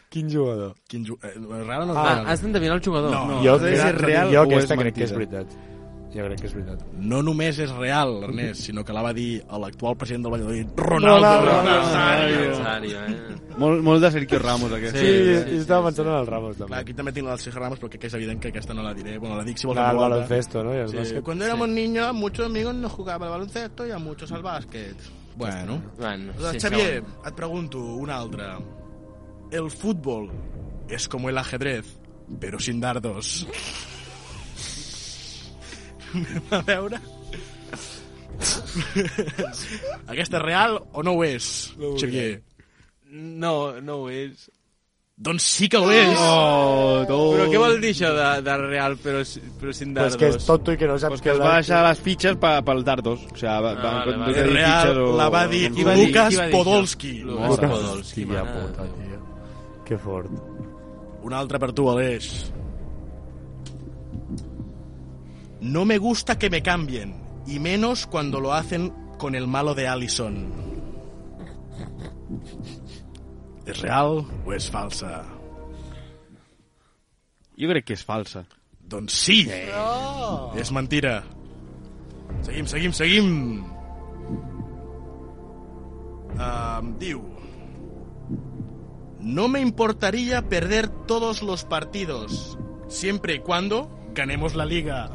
S1: Quin jugador?
S6: Quin ju... eh, real o no?
S10: Ah,
S6: real?
S10: has d'endevinar el jugador.
S6: No.
S1: jo
S9: és
S1: crec,
S9: real
S1: jo
S9: o
S1: aquesta
S9: és
S1: crec que és
S9: mentida?
S1: veritat. Jo crec que és veritat.
S6: no només és real, Ernest, sinó que la va dir a l'actual president del Valladolid, Ronaldo. Ronaldo.
S10: Rosario, eh?
S9: Molt, molt de Sergio Ramos, aquest.
S1: Sí, sí, sí, estava pensant en el Ramos,
S6: Clar,
S1: també.
S6: aquí també tinc la del Sergio Ramos, però crec que és evident que aquesta no la diré. Bueno, la dic si vols.
S1: Clar,
S6: en
S1: el
S6: veu alta.
S1: baloncesto, no? I el
S6: Sí,
S1: bàsquet.
S6: cuando éramos niños, a muchos amigos no jugaba al baloncesto y a muchos al bàsquet. Bueno.
S10: Bueno,
S6: Doncs, Xavier, et pregunto una altra. El futbol és com el ajedrez, però sin dardos. Anem a veure... Aquesta és real o no ho és, Xavier?
S10: No, no ho és.
S6: Doncs sí que ho és!
S9: Oh, tot.
S10: Però què vol dir això de, de real però, si- però sin
S1: Però
S10: dardos?
S1: és que és tonto i que no saps
S9: Que
S1: que
S9: es va deixar les fitxes pa, pel dardos. O sigui, va, va,
S10: Ah, vale,
S9: va,
S10: vale.
S9: va dir
S6: Real
S9: fitxes o...
S6: la va dir
S9: com
S10: Qui
S9: es
S10: va
S9: diu?
S10: dir-
S6: Lucas
S10: qui va dir això?
S6: Podolski.
S10: Lucas
S1: Lucas.
S10: Podolski,
S1: Hòstia
S10: mare.
S1: puta, tio. Que fort.
S6: Una altra per tu, Aleix. No me gusta que me cambien, y menos cuando lo hacen con el malo de Allison. ¿Es real o es falsa?
S9: Jo crec que és falsa.
S6: Doncs sí! És mentira. Seguim, seguim, seguim! Um, diu... No me importaría perder todos los partidos, siempre y cuando ganemos la liga.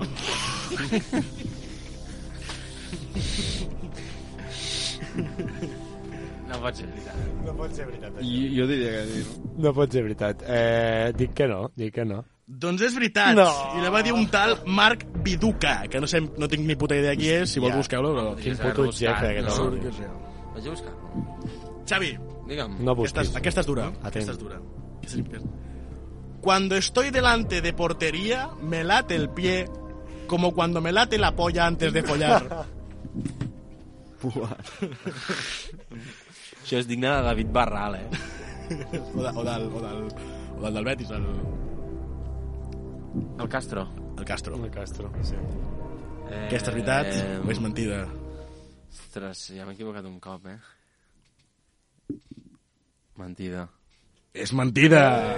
S10: No pot ser veritat.
S1: No pot ser veritat,
S9: Jo, jo diria que... no.
S1: No pot ser veritat. Eh, dic que no, dic que no.
S6: Doncs és veritat.
S1: No.
S6: I la va dir un tal Marc Biduca, que no, sé, no tinc ni puta idea qui és, si vols
S1: Hòstia.
S6: busqueu-lo, però...
S1: Quin puto jefe, aquest
S10: no.
S1: home.
S10: Vaig a buscar-lo.
S6: Xavi,
S10: Digue'm.
S1: No
S6: Esta,
S1: busquis.
S6: es- aquesta és dura. Aquesta és dura. Aquesta és dura. Cuando estoy delante de portería, me late el pie como cuando me late la polla antes de follar.
S10: Això és digne de David Barral, eh?
S6: O, de, o, del, o, del, o del del Betis, el,
S10: El Castro.
S6: el Castro.
S1: El Castro, sí.
S10: Eh,
S6: Aquesta és veritat o és mentida?
S10: Ostres, ja m'he equivocat un cop, eh? Mentida.
S6: És mentida!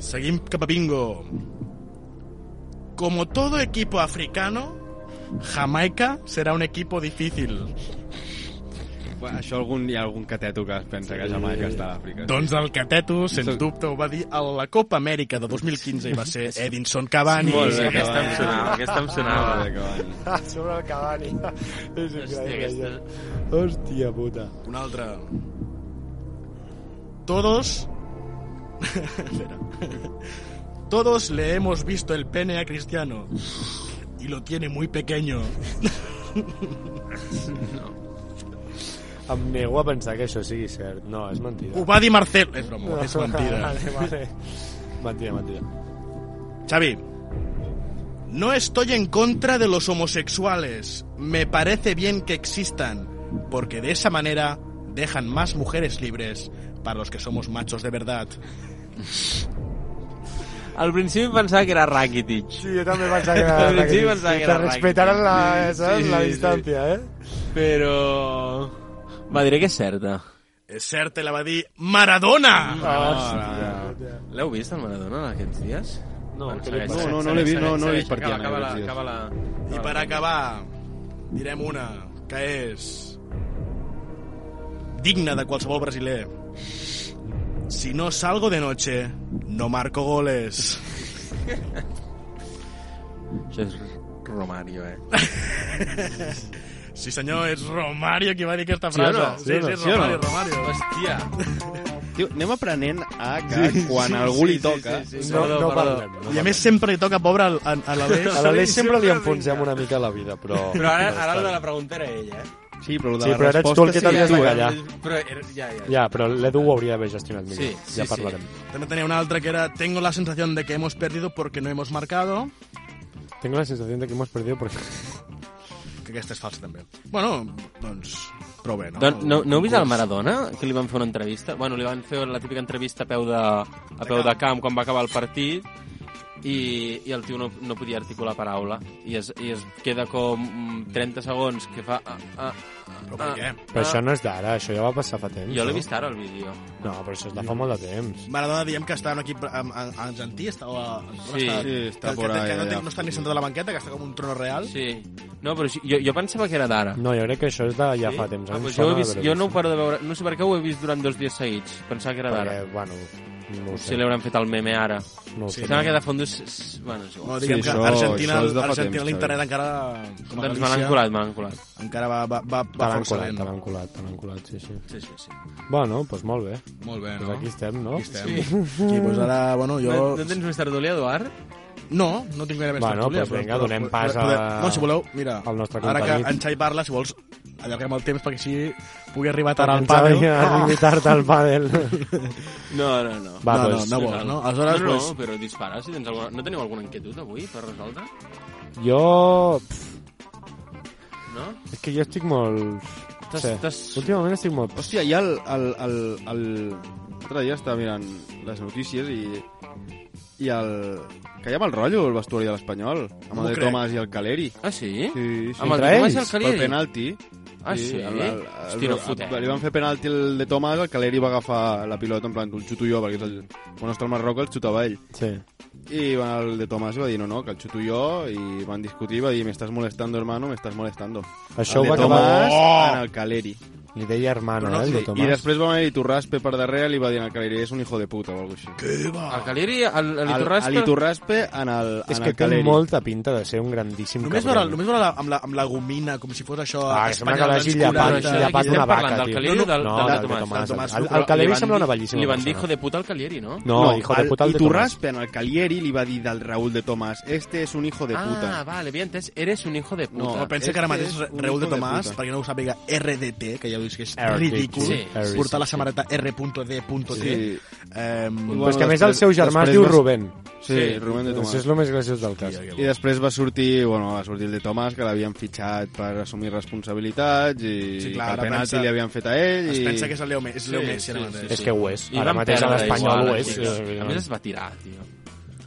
S6: Seguim cap a bingo. Como todo equipo africano, Jamaica será un equipo difícil.
S9: Bueno, això algun, hi ha algun cateto que es pensa que Jamaica està a Àfrica.
S6: Doncs el Cateto, sens dubte, ho va dir a la Copa Amèrica de 2015 i va ser Edinson Cavani.
S9: Molt bé,
S10: Aquesta em sonava, aquesta em sonava.
S9: Ah, bé, que van.
S1: Ah, sobre el Cavani. és
S10: Hòstia,
S1: increïble.
S10: aquesta...
S1: Hòstia puta.
S6: Un altre. Todos... Espera. Todos le hemos visto el pene a Cristiano. Y lo tiene muy pequeño.
S1: Em nego a pensar que això sigui cert. No, és mentida.
S6: Ho Uh, va dir Marcelo. És broma,
S1: No.
S6: és mentida.
S1: Vale, vale. Mentida, mentida.
S6: Xavi. No estoy en contra de los homosexuales. Me parece bien que existan, porque de esa manera dejan más mujeres libres para los que somos machos de verdad.
S10: Al principi pensava que era Rakitic.
S11: Sí, jo també pensava que era
S10: Al principi
S11: Rakitic.
S10: pensava que
S11: Sí,
S10: era
S11: te
S10: Rakitic.
S11: respetaran la-
S10: Sí,
S11: saps?
S10: sí,
S11: La
S10: sí.
S11: distància, eh?
S10: Però... Va, diré que és certa.
S6: És cert, te la va dir Maradona!
S10: Hòstia. L'heu vist, el Maradona, en aquests dies?
S1: No,
S10: Bueno,
S6: què li
S10: segueix,
S6: passa?
S10: segueix,
S6: No, no l'he
S10: segueix,
S6: vist, no- no l'he
S10: segueix.
S6: vist per aquí, en
S10: Acaba, acaba,
S6: aquests
S10: la,
S6: dies.
S10: acaba la...
S6: I per acabar, direm una que és digna de qualsevol brasiler. Si no salgo de noche, no marco goles.
S10: Això és Romario, eh?
S6: Sí senyor, és Romario qui va dir aquesta
S9: Sí o no?
S6: frase.
S9: Sí o no?
S6: sí, és
S9: Sí o no?
S6: Romario, Romario.
S10: Hòstia.
S9: Tio, anem aprenent a que
S6: Sí,
S9: quan
S6: sí,
S9: algú
S6: sí,
S9: li
S6: sí,
S9: toca...
S6: sí, sí. No- Perdó, no perdó. parlem, no I a parlem. més sempre li toca, pobre, al- a- a l'Aleix.
S1: A l'Aleix sempre li enfonsem una mica la vida, però...
S6: Oh.
S10: Però ara, ara el de la pregunta era ella, eh?
S9: Sí, però,
S1: Sí, però eres tu el que t'havies
S6: eh,
S1: de callar.
S10: Però era- ja, ja.
S1: Ja, però l'Edu ho hauria d'haver gestionat millor.
S10: Sí, sí,
S1: ja
S10: sí.
S1: parlarem.
S6: També tenia una altra que era Tengo la sensación de que hemos perdido porque no hemos marcado.
S1: Tengo la sensación de que hemos perdido porque...
S6: Que aquesta és falsa també. Bueno, doncs, prou bé, no?
S1: Ah,
S10: Don, no, no heu vist
S1: doncs.
S10: el Maradona? Que li van fer una entrevista? Bueno, li van fer la típica entrevista a peu de, a peu de camp quan va acabar el partit i, i el tio no, no podia articular paraula i es, i es queda com mm, 30 segons que fa... Ah, ah,
S6: però
S10: ah,
S1: Però això no és d'ara, això ja va passar fa temps.
S10: Jo l'he
S1: no?
S10: vist ara, el vídeo.
S1: No, però això és de fa molt de temps.
S6: Maradona diem que està en equip a, a, a Argentí, està, o a, on
S10: Sí.
S6: està,
S10: Sí,
S6: que,
S10: està
S6: que,
S10: por
S6: que,
S10: ahí,
S6: no, té,
S10: ja.
S6: no està ni sentat a la banqueta, que està com un trono real.
S10: Sí. No, però jo, jo pensava que era d'ara.
S1: No, jo crec que això és de ja
S10: Sí?
S1: fa temps.
S10: Ah,
S1: em
S10: doncs
S1: sona
S10: jo, ho he
S1: d'haver-ho
S10: vist, jo no ho paro de veure. No sé per què ho he vist durant dos dies seguits. Pensava que era d'ara.
S1: Perquè, bueno, no ho sé.
S10: Si l'hauran fet el meme ara.
S1: No ho
S10: sí,
S1: sé.
S10: Sembla que de fons és... és- Bueno, és igual.
S6: No, diguem sí, que Argentina, això Argentina l'internet encara... Com a
S10: Doncs me
S6: Galícia,
S10: l'han colat, me l'han colat.
S6: Encara va, va, va,
S1: Te
S6: va
S1: l'han
S6: força
S1: colat,
S6: lent.
S1: te l'han colat, te l'han colat, sí, sí.
S10: Sí, sí, sí.
S1: Bueno, doncs pues molt bé.
S6: Molt bé,
S1: pues
S6: no?
S1: aquí estem, no?
S6: Aquí estem. doncs- Sí. Sí, doncs ara, bueno, jo-
S10: No, no tens més tertúlia, Eduard?
S6: No, no tinc gaire més
S1: Bueno,
S6: tertúlia,
S1: doncs
S6: però-
S1: vinga,
S6: però-
S1: donem
S6: però-
S1: pas
S6: podem-
S1: a-
S6: No, si voleu, mira,
S1: al nostre
S6: ara que
S1: company.
S6: en Xai parla, si vols, allarguem el temps perquè així pugui arribar tard
S1: Perquè
S6: al
S1: ens ha
S6: pàdel.
S1: arribat tard al pàdel.
S10: No, no, no.
S1: Va,
S6: No, no,
S1: doncs,
S6: no vols, no? Aleshores,
S10: no, no,
S6: doncs-
S10: però dispara. Si tens alguna... No teniu alguna inquietud avui per resoldre?
S1: Jo... pff,
S10: No?
S1: És que jo estic molt... No
S10: T'has-
S1: sé.
S10: t'has-
S1: Últimament estic molt...
S9: Hòstia, hi ha el... el, el, el... L'altre dia estava mirant les notícies i... I el... Que hi ha mal rotllo el vestuari de l'Espanyol. Amb
S10: M'ho
S9: el de
S10: crec.
S9: Tomàs i el Caleri.
S10: Ah, sí?
S9: Sí, sí.
S10: Amb el de Tomàs i el Caleri?
S9: Pel penalti.
S10: Ah, sí? Hosti, no fotem.
S9: Li van fer penalti el de Tomàs, el Caleri va agafar la pilota, en plan, el xuto jo, perquè és el... Quan està el Marroc, el xutava ell.
S1: Sí.
S9: I va, el de Tomàs va dir, no, no, que el xuto jo, i van discutir, va dir, me estás molestando, hermano, me estás molestando.
S1: Això
S9: el
S1: ho va
S9: de
S1: acabar-
S9: Tomàs
S1: Oh!
S9: en el Caleri.
S1: Li deia hermano, eh, el de Tomàs.
S9: I després va venir Iturraspe per darrere i li va dir al Caleri, és un hijo de puta o alguna cosa així.
S6: Què va?
S10: El Caleri, el, el Iturraspe...
S9: El, Iturraspe en el, en
S1: És que
S9: el
S1: té
S9: Caleri.
S1: molta pinta de ser un grandíssim
S6: Només veure,
S1: cabron.
S6: només veure la, amb, la, amb la gomina, com si fos això...
S1: Ah, que sembla que l'hagi llapat, llapat una vaca, tio. no, del, del, Tomàs. El, el, Caleri sembla una bellíssima
S10: Li van dir
S1: persona.
S10: hijo de puta al Caleri, no?
S1: No, hijo de puta el de
S9: Iturraspe en el Caleri li va dir del Raúl de Tomàs, este es un hijo de
S10: Ah,
S9: puta.
S10: vale, havia entès. Eres un hijo de puta.
S6: No, pensa que ara mateix Reul de Tomàs, perquè no ho sàpiga, RDT, que ja ho dius que és
S1: Ah,
S10: RDT,
S6: ridícul,
S10: sí, sí,
S6: portar la
S10: sí.
S6: samarreta R.D.T.
S1: Sí.
S6: Eh,
S1: Però és que a més el seu germà es diu Rubén.
S9: Sí, Rubén de Tomàs.
S1: Això és el més graciós del cas.
S9: I després va sortir, bueno, va sortir el de Tomàs, que l'havien fitxat per assumir responsabilitats i
S6: Sí, clar,
S9: que
S6: ara
S9: el penalti
S6: pensa-
S9: li havien fet a ell.
S6: es
S9: I...
S6: pensa que és el Leo Me- és Leo Messi ara mateix. És que ho és.
S10: I
S6: Ara
S10: van
S6: mateix a
S10: perdre
S6: l'Espanyol
S10: igual,
S6: ho és,
S10: sí.
S6: eh,
S10: A més es va tirar, tio.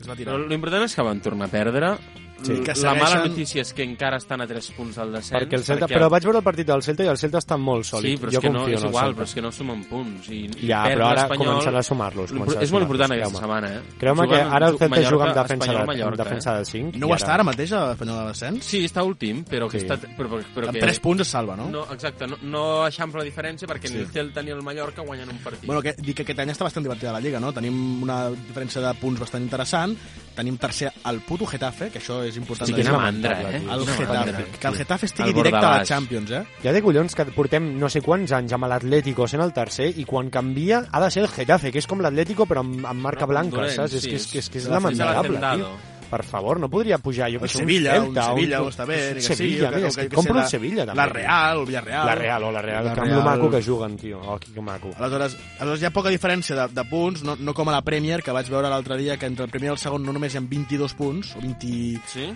S6: Es va tirar.
S10: Però l'important és que van tornar a perdre.
S1: Sí, que
S10: la mala
S1: segueixen-
S10: notícia és que encara estan a 3 punts del descens.
S1: Perquè el Celta... Però vaig veure el partit del Celta i el Celta està molt sòlid.
S10: Sí, però és
S1: jo
S10: que no,
S1: confio
S10: és
S1: en el
S10: igual,
S1: Celta.
S10: però és que no sumen punts. I, i
S1: Ja,
S10: perd
S1: però ara
S10: l'Espanyol.
S1: començarà a sumar-los.
S10: L'impor-
S1: començarà a
S10: És
S1: sumar-los,
S10: molt important aquesta
S1: creu-me.
S10: setmana, eh?
S1: Creu-me que
S10: Juguen-
S1: ara el Celta juga amb
S10: Mallorca- eh?
S1: defensa de-
S10: Espanyol-Mallorca,
S1: defensa de cinc
S6: No
S1: i
S6: ho està
S1: ara-
S6: ara mateix, a Espanyol de Descens?
S10: Sí, està últim, però que
S6: Sí.
S10: està... Però, però
S6: Amb
S10: que...
S6: tres punts es salva, no?
S10: No, exacte, no, no eixampla la diferència perquè
S6: Sí.
S10: ni el Celta ni el Mallorca guanyen un partit.
S6: Bueno, que, dic que aquest any està bastant divertida la Lliga, no? Tenim una diferència de punts bastant interessant. Tenim tercer el puto Getafe, que això és important.
S1: Sí,
S6: de
S1: quina
S6: dir.
S1: mandra, eh?
S6: El
S1: Quina mandra.
S6: Getafe. Que el Getafe estigui
S1: El
S6: directe a la
S1: Bordalàs.
S6: Champions, eh?
S1: Ja de collons que portem no sé quants anys amb l'Atlético sent el tercer i quan canvia ha de ser el Getafe, que és com l'Atlético però amb, amb marca
S6: Però amb
S1: blanca,
S6: dolent,
S1: saps? És
S6: sí,
S1: que és, que és, que és
S6: és la
S1: lamentable,
S6: Celta
S1: tio.
S6: Hacendado.
S1: Per favor, no podria pujar jo
S6: El
S1: que sé,
S6: Sevilla, un
S1: Celta,
S6: Sevilla, o està bé,
S1: un
S6: ni que sigui,
S1: Sevilla,
S6: o que-
S1: mira,
S6: o
S1: és
S6: que-
S1: que,
S6: que
S1: compro
S6: sé,
S1: el
S6: la-
S1: Sevilla, també.
S6: la Real, el Villarreal.
S1: La Real, o la Real,
S6: La
S1: que amb
S6: Real.
S1: lo maco que juguen, tio. Oh, que, que maco.
S6: Aleshores, aleshores hi ha poca diferència de, de punts, no, no com a la Premier, que vaig veure l'altre dia, que entre el primer i el segon no només hi ha 22 punts, o 20...
S10: Sí?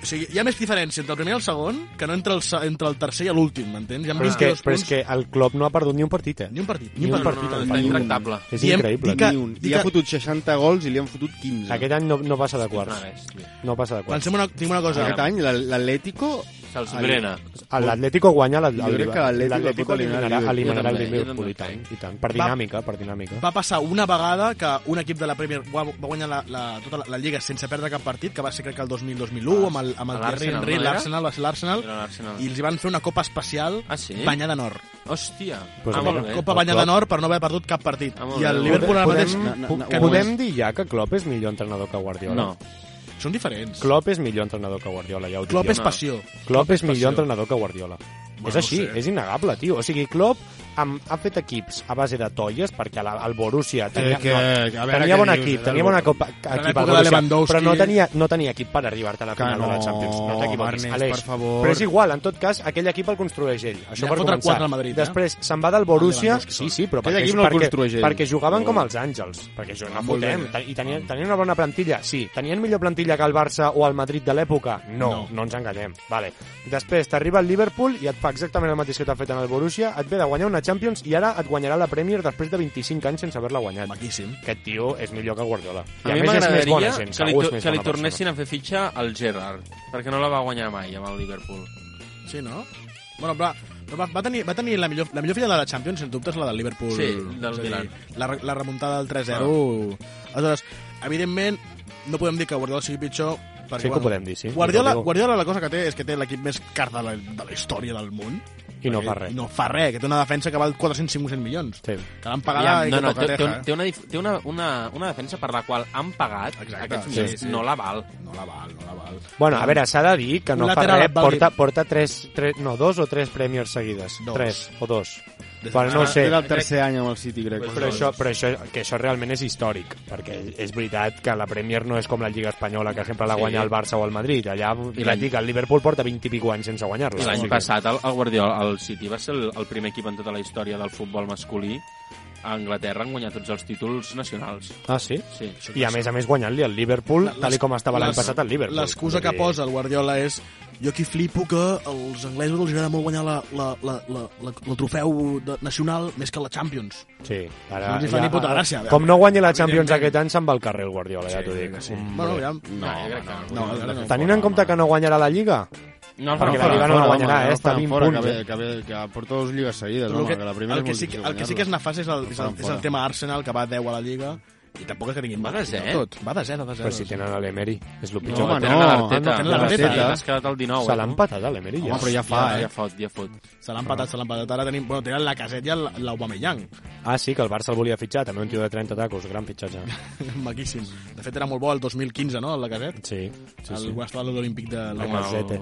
S6: sigui, hi ha més diferència entre el primer i el segon que no entre el, se- entre el tercer i l'últim, m'entens? Hi ha
S1: Però és, que,
S6: 22
S1: però és que el Klopp no ha perdut ni un partit, eh?
S6: Ni un partit.
S1: Ni un partit. el Bayern. És increïble.
S9: Ni un. I ha fotut 60 gols i li han fotut 15.
S1: Aquest any no, no passa de quarts. No passa de quarts.
S6: Pensem una, tinc una cosa.
S9: Aquest any l'A- l'Atlético...
S1: L'Atlético guanya l'At-
S9: Jo crec que l'Atlético
S1: l'Atlético
S9: pot eliminar
S1: eliminarà, eliminarà
S9: el Liverpool.
S1: el
S9: Jo també, jo
S1: Liverpool i tant, i tant. Per
S6: Va-
S1: dinàmica, per dinàmica.
S6: Va passar una vegada que un equip de la Premier va, va guanyar la, la, tota la, la Lliga sense perdre cap partit, que va ser crec que el 2000-2001, amb el, amb el Thierry Henry,
S10: l'Arsenal, no era?
S6: l'Arsenal, va ser l'Arsenal,
S10: Era l'Arsenal.
S6: i els hi van fer una copa especial
S10: Ah, sí?
S6: banyada en or.
S10: Hòstia.
S1: Pues
S6: ah,
S1: a
S6: molt
S1: veure.
S6: bé. Copa
S1: El
S6: banyada en
S1: Klopp.
S6: or per no haver perdut cap partit.
S10: molt
S6: I el
S10: bé.
S6: Liverpool ara mateix...
S1: podem, podem, podem dir ja que Klopp és millor entrenador que Guardiola?
S6: No. Són diferents.
S1: Klopp és millor entrenador que Guardiola, ja ho dic
S6: Klopp
S1: jo.
S6: és passió.
S1: Klopp és
S6: passió.
S1: millor entrenador que Guardiola.
S6: Bueno,
S1: és així,
S6: no sé.
S1: és innegable, tio. O sigui, Klopp amb, ha fet equips a base de tolles, perquè la, el Borussia tenia,
S6: que- a veure
S1: tenia
S6: què
S1: bon
S6: dius,
S1: equip,
S6: el
S1: tenia bona
S6: Borussia.
S1: copa,
S6: A
S1: equip
S6: l'època
S1: al
S6: de
S1: Borussia,
S6: Lewandowski.
S1: però no tenia, no tenia equip per arribar-te a la
S6: Que
S1: final de la
S6: no,
S1: Champions. No t'equivoquis,
S6: Ernest,
S1: Aleix.
S6: per favor.
S1: Però és igual, en tot cas, aquell equip el construeix ell.
S6: Li
S1: Això
S6: ha
S1: per
S6: fotre
S1: començar.
S6: quatre al Madrid, eh?
S1: Després se'n va del Borussia...
S6: Lewandowski
S1: Sí,
S6: sol.
S1: sí, però
S6: Aquell
S1: perquè,
S6: equip no el construeix
S1: perquè,
S6: ell.
S1: perquè jugaven com
S6: Molt
S1: els Àngels. Perquè jo no
S6: Molt
S1: fotem.
S6: bé.
S1: I tenien, tenien una bona plantilla, sí. Tenien millor plantilla que el Barça o el Madrid de l'època? No,
S6: No.
S1: no, no ens enganyem. Vale. Després t'arriba el Liverpool i et fa exactament el mateix que t'ha fet en el Borussia, et ve de guanyar una Champions i ara et guanyarà la Premier després de 25 anys sense haver-la guanyat.
S6: Maquíssim.
S1: Aquest tio és millor que Guardiola.
S10: A,
S1: I més
S10: mi
S1: és més
S10: m'agradaria
S1: bona gent,
S10: que li,
S1: segur
S10: to-
S1: és més
S10: que li
S1: bona persona.
S10: tornessin a fer fitxa al Gerrard, perquè no la va guanyar mai amb el Liverpool.
S6: Sí, no? Bueno, però, però va, va, tenir, va tenir la millor, la millor filla de la Champions, sens dubte, és la del Liverpool.
S10: Sí,
S6: És
S10: del
S6: a dir,
S10: Milan. Ah.
S6: La, re- la remuntada del 3-0. Aleshores, evidentment, no podem dir que Guardiola sigui pitjor, perquè,
S1: Sí que ho
S6: bueno,
S1: podem dir, sí.
S6: Guardiola,
S1: Jo ho digo.
S6: Guardiola la cosa que té és que té l'equip més car de la, de la història del món.
S1: I no
S6: Perquè
S1: fa res.
S6: No fa res, que té una defensa que val 400-500 milions.
S1: Sí.
S6: Que l'han pagada
S10: Aviam,
S6: i
S10: no,
S6: que
S10: no,
S6: toca
S10: té, té,
S1: eh.
S6: teja.
S10: un- té, una, dif- té una, una, una defensa per la qual han pagat Exacte,
S6: sí,
S10: aquests milions.
S6: sí.
S10: No la val.
S6: No la val, no la val.
S1: Bueno, a veure, s'ha de dir que
S6: Un
S1: no fa
S6: lateral
S1: res,
S6: vàlid.
S1: porta, porta tres, tres, no, dos o tres Premiers seguides.
S6: Dos.
S1: Tres o dos.
S6: Des-
S1: Bueno, no ho sé.
S9: Era el tercer any amb el City, crec.
S1: Però això, però això, que això realment és històric, perquè és veritat que la Premier no és com la Lliga Espanyola, que sempre la
S10: Sí.
S1: guanya el Barça o el Madrid. Allà,
S10: I
S1: I
S10: l'any-
S1: dic, el Liverpool porta 20 i pico anys sense guanyar-la.
S10: I
S1: O
S10: l'any
S1: sigui,
S10: passat el, el Guardiola, el City, va ser el, el primer equip en tota la història del futbol masculí. A Anglaterra han guanyat tots els títols nacionals.
S1: Ah, sí?
S10: Sí.
S1: I a més a més guanyant-li el Liverpool,
S6: La-
S1: tal
S6: les-
S1: i com estava l'any
S6: les-
S1: passat el Liverpool.
S6: L'excusa que
S1: Vull dir,
S6: posa el Guardiola és jo aquí flipo que als anglesos els agrada molt guanyar la, la, la, la, la, el trofeu de, nacional més que la Champions.
S1: Sí, ara...
S6: No els hi fa ni puta gràcia, eh? a veure.
S1: com no guanyi la Champions aquest any, se'n va al carrer el Guardiola, ja t'ho dic.
S6: Sí. Bueno, aviam.
S10: No, jo crec que
S6: no, no, no.
S1: Tenint en compte que no guanyarà la Lliga,
S10: No, el faran
S1: perquè la
S10: fora,
S1: Lliga no
S10: fora,
S1: la
S10: home,
S1: guanyarà,
S10: no
S1: eh?
S10: el
S1: Està
S10: faran
S1: 20
S10: fora,
S1: punts.
S9: Que, ve, que, ve, que porta dues lligues seguides,
S6: Però el
S9: home,
S6: que,
S9: que, la primera
S6: el, que sí, que- el que sí que és nefast és el, és el, és el tema Arsenal, que va 10 a la Lliga, i tampoc és que tinguin
S10: Va de zero.
S6: tot. Va de 0, va de 0.
S1: Però si tenen a l'Emery, és el
S10: No,
S1: pitjor.
S10: no,
S1: que
S10: tenen
S1: tenen.
S10: a l'Arteta.
S6: no, tenen l'Arteta.
S10: T'has quedat al 19,
S1: Se
S10: eh,
S1: l'ha
S10: no?
S1: empatat a l'Emery, ja.
S10: Home, però ja fa, eh? Ja fot, ja fot.
S6: Se l'han patat, se l'han patat. Ara tenim, bueno, tenen la caset i el- l'Aubameyang.
S1: Ah, sí, que el Barça el volia fitxar, també un tio de 30 tacos, gran fitxatge.
S6: Maquíssim. De fet, era molt bo el 2015, no?, la caset.
S1: Sí, sí,
S6: el
S1: sí.
S6: Guardiola de l'Olímpic de la
S10: Amb el-
S1: Lacazette.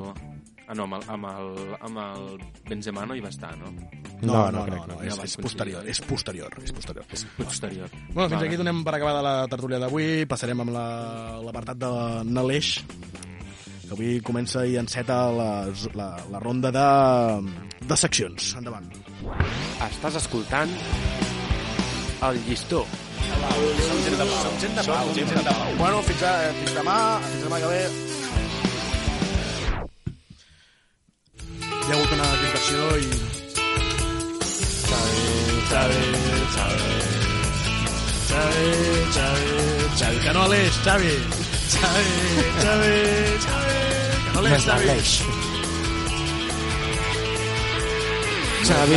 S10: Ah, no, amb el, amb, el, amb el Benzema no hi va estar, no?
S6: No, no, no, no,
S10: Ja
S6: és,
S10: van
S6: és
S10: coincidir.
S6: posterior, és posterior, és posterior. És
S10: posterior.
S6: Bueno, fins
S10: Vale.
S6: aquí donem per acabada la tertúlia d'avui, passarem amb la- l'apartat la, de Naleix, que avui comença i enceta la, la, la ronda de, de seccions. Endavant.
S12: Estàs escoltant El Llistó.
S6: Som gent de pau. Som gent de pau. Som gent de pau. Bueno, fins, a, fins demà, fins demà que ve. Hi ha hagut una equivocació i... Xavi, Xavi, Xavi. Xavi, Xavi, Xavi. Que no l'és, Xavi. Xavi, Xavi, Xavi. Que no l'és, Xavi.
S11: Xavi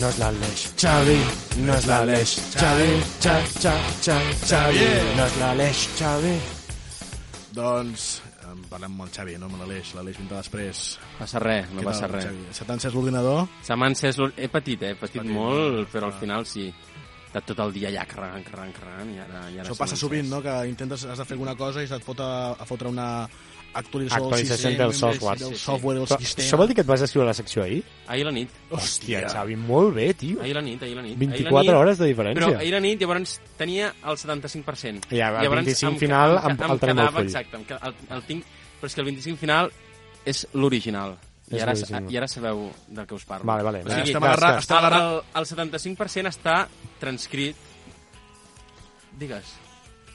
S11: no és l'Aleix. Xavi no és l'Aleix. Xavi, xa, xa, xa, Xavi no és l'Aleix. Xavi.
S6: Doncs en parlem amb el Xavi, no amb l'Aleix. L'Aleix vindrà després.
S10: Passa res, no
S6: Què
S10: passa
S6: tal,
S10: res.
S6: Xavi? Se t'ha encès l'ordinador?
S10: Se m'ha encès... l'or- He patit, eh? He patit,
S6: Patit,
S10: molt,
S1: Ah.
S10: però al final sí. He estat tot el dia allà, crran, crran, crran, i ara... I ara
S6: Això
S10: se
S6: passa
S10: m'ha
S6: sovint,
S10: encès.
S6: no? Que intentes, has de fer alguna cosa i se't fot a, a fotre una actualització,
S1: Actualització
S6: del,
S1: del
S6: sistema,
S1: software.
S6: del software, del
S1: Però
S6: sistema.
S1: Això vol dir que et vas escriure la secció ahir?
S10: Ahir a la nit.
S1: Hòstia, Xavi, molt bé, tio.
S10: Ahir a la nit, ahir a la nit.
S1: 24
S10: ahir a la nit,
S1: hores de diferència.
S10: Però ahir a la nit, llavors, tenia el 75%.
S1: Ja, el
S10: Llavors,
S1: 25
S10: em-
S1: final
S10: em-
S1: em- el tenim
S10: em
S1: al
S10: quedava,
S1: full.
S10: Exacte, em queda- el, el tinc... Però és que el 25 final és l'original. I,
S1: És
S10: ara,
S1: l'original.
S10: I ara sabeu del que us parlo.
S1: Vale, vale.
S10: O sigui,
S1: Estem agarra-
S10: el-
S1: estem agarra-
S10: El, el 75% està transcrit... Digues.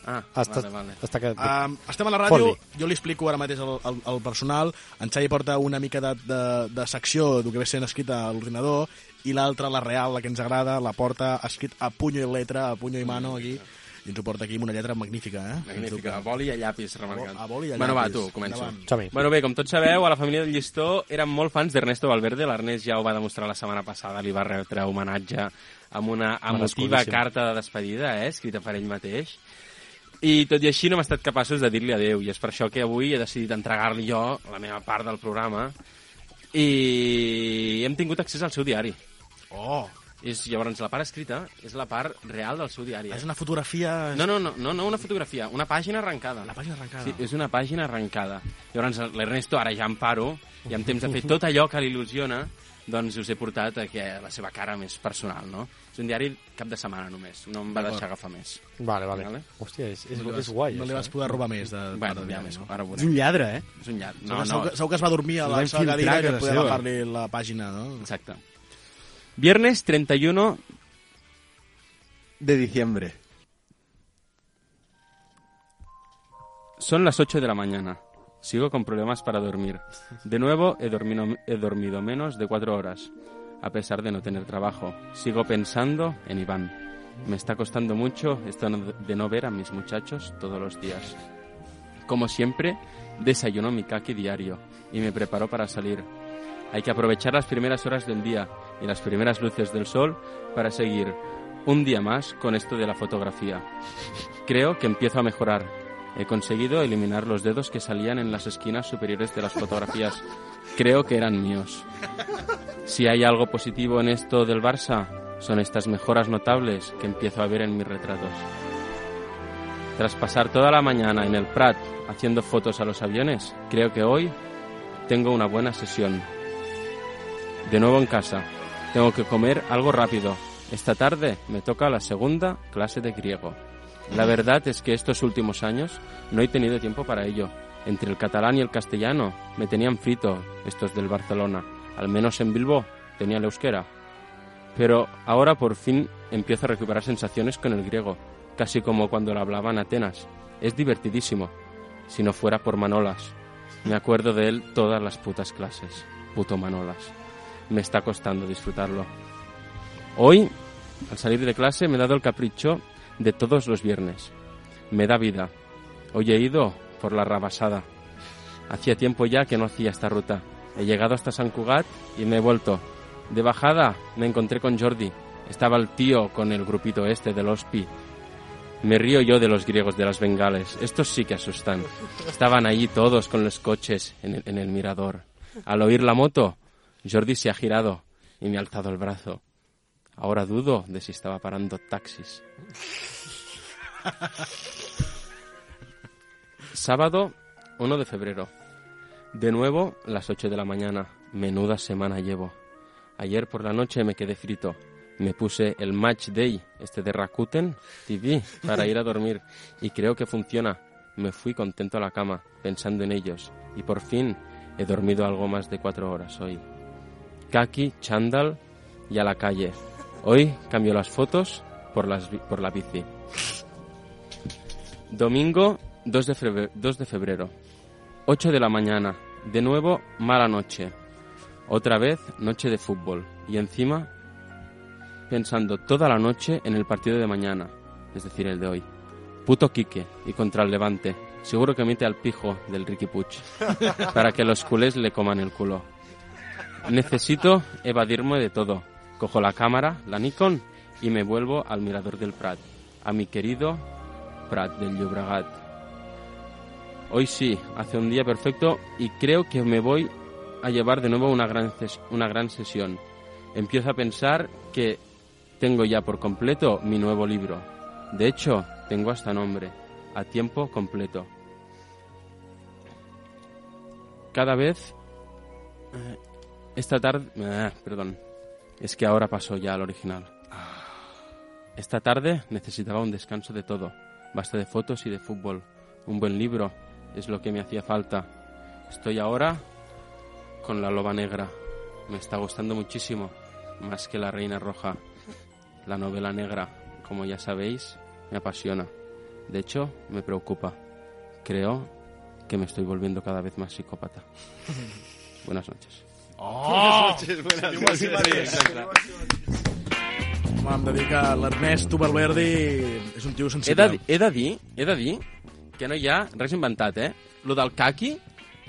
S10: Ah,
S1: Hasta-
S10: vale, vale.
S1: hasta que-
S6: Um, estem a la ràdio,
S1: Fot-li.
S6: jo li explico ara mateix al, al, al personal, en Xavi porta una mica de, de, de secció del que ve sent escrita a l'ordinador, i l'altra, la real, la que ens agrada, la porta escrit a punyo i letra, a punyo i mano, aquí, i ens ho porta aquí amb una lletra magnífica, eh?
S10: Magnífica, a boli i a llapis, remarcant.
S6: A boli i a
S10: bueno, va,
S6: llapis.
S10: tu, començo.
S6: Endavant. Som-hi.
S10: Bueno, bé, com tots sabeu, a la família del Llistó eren molt fans d'Ernesto Valverde. L'Ernest ja ho va demostrar la setmana passada, li va retre homenatge amb una emotiva
S12: Merescudíssim.
S10: carta de despedida, eh, escrita per ell mateix. I tot i així no hem estat capaços de dir-li adeu, i és per això que avui he decidit entregar-li jo la meva part del programa i hem tingut accés al seu diari.
S6: Oh!
S10: És, llavors, la part escrita és la part real del seu diari. eh?
S6: És una fotografia...
S10: No, no, no, no, no una fotografia, una pàgina arrencada. La
S6: pàgina arrencada.
S10: Sí, és una pàgina arrencada. Llavors l'Ernesto ara ja em paro i amb temps de fer tot allò que l'il·lusiona, doncs us he portat a que la seva cara més personal, no? És un diari cap de setmana només, no em va
S6: D'acord.
S10: deixar agafar més.
S1: Vale, vale. Hòstia, és, és,
S6: No li vas-
S1: és guai.
S6: no
S1: això,
S6: li vas
S1: eh?
S6: poder robar més de-
S10: Bueno,
S6: de-
S10: ja
S6: de-
S10: més, ara ho veurem.
S6: És un lladre, eh?
S10: És un lladre.
S6: Segur
S10: No,
S6: que-
S10: no.
S6: segur que- segur que es va dormir a la sala de cadira i que poder agafar-li la pàgina, no?
S10: Exacte. Viernes 31
S12: de diciembre.
S10: Son las 8 de la mañana. Sigo con problemas para dormir. De nuevo he dormido, he dormido menos de 4 horas, a pesar de no tener trabajo. Sigo pensando en Iván. Me está costando mucho esto no- de no ver a mis muchachos todos los días. Como siempre, desayuno mi kaki diario y me preparo para salir. Hay que aprovechar las primeras horas del día y las primeras luces del sol para seguir un día más con esto de la fotografía. Creo que empiezo a mejorar. He conseguido eliminar los dedos que salían en las esquinas superiores de las fotografías. Creo que eran míos. Si hay algo positivo en esto del Barça, son estas mejoras notables que empiezo a ver en mis retratos. Tras pasar toda la mañana en el Prat haciendo fotos a los aviones, creo que hoy tengo una buena sesión. De nuevo en casa. Tengo que comer algo rápido. Esta tarde me toca la segunda clase de griego. La verdad es que estos últimos años no he tenido tiempo para ello. Entre el catalán y el castellano me tenían frito estos del Barcelona. Al menos en Bilbao tenía el euskera. Pero ahora por fin empiezo a recuperar sensaciones con el griego, casi como cuando lo hablaba en Atenas. Es divertidísimo, si no fuera por Manolas. Me acuerdo de él todas las putas clases. Puto Manolas. Me está costando disfrutarlo. Hoy, al salir de clase, me he dado el capricho de todos los viernes. Me da vida. Hoy he ido por la rabasada. Hacía tiempo ya que no hacía esta ruta. He llegado hasta San Cugat y me he vuelto. De bajada me encontré con Jordi. Estaba el tío con el grupito este del Ospi. Me río yo de los griegos de las Bengales. Estos sí que asustan. Estaban allí todos con los coches en el, en el mirador. Al oír la moto, Jordi se ha girado y me ha alzado el brazo. Ahora dudo de si estaba parando taxis. Sábado 1 de febrero. De nuevo, las 8 de la mañana. Menuda semana llevo. Ayer por la noche me quedé frito. Me puse el Match Day, este de Rakuten TV, para ir a dormir. Y creo que funciona. Me fui contento a la cama, pensando en ellos. Y por fin he dormido algo más de cuatro horas hoy. Kaki, chándal y a la calle. Hoy cambio las fotos por, las, bi- por la bici. Domingo 2 de, febrero, 2 de febrero. 8 de la mañana. De nuevo, mala noche. Otra vez, noche de fútbol. Y encima, pensando toda la noche en el partido de mañana, es decir, el de hoy. Puto Quique y contra el Levante. Seguro que mete al pijo del Ricky Puch para que los culés le coman el culo. Necesito evadirme de todo. Cojo la cámara, la Nikon, y me vuelvo al mirador del Prat, a mi querido Prat del Llobregat. Hoy sí, hace un día perfecto y creo que me voy a llevar de nuevo una gran, ces- una gran sesión. Empiezo a pensar que tengo ya por completo mi nuevo libro. De hecho, tengo hasta nombre, a tiempo completo. Cada vez... eh, Esta tarde... eh, perdón. Es que ahora pasó ya al original. Esta tarde necesitaba un descanso de todo. Basta de fotos y de fútbol. Un buen libro es lo que me hacía falta. Estoy ahora con la loba negra. Me está gustando muchísimo, más que la reina roja. La novela negra, como ya sabéis, me apasiona. De hecho, me preocupa. Creo que me estoy volviendo cada vez más psicópata. Buenas noches.
S6: Oh!
S9: Buenas noches, buenas
S6: Diu així
S9: noches.
S6: mateix. Home, hem de dir que l'Ernest Tuberverdi és un tio
S10: He
S6: sensible.
S10: de, he de dir, he de dir que no hi ha res inventat, eh? Lo del caqui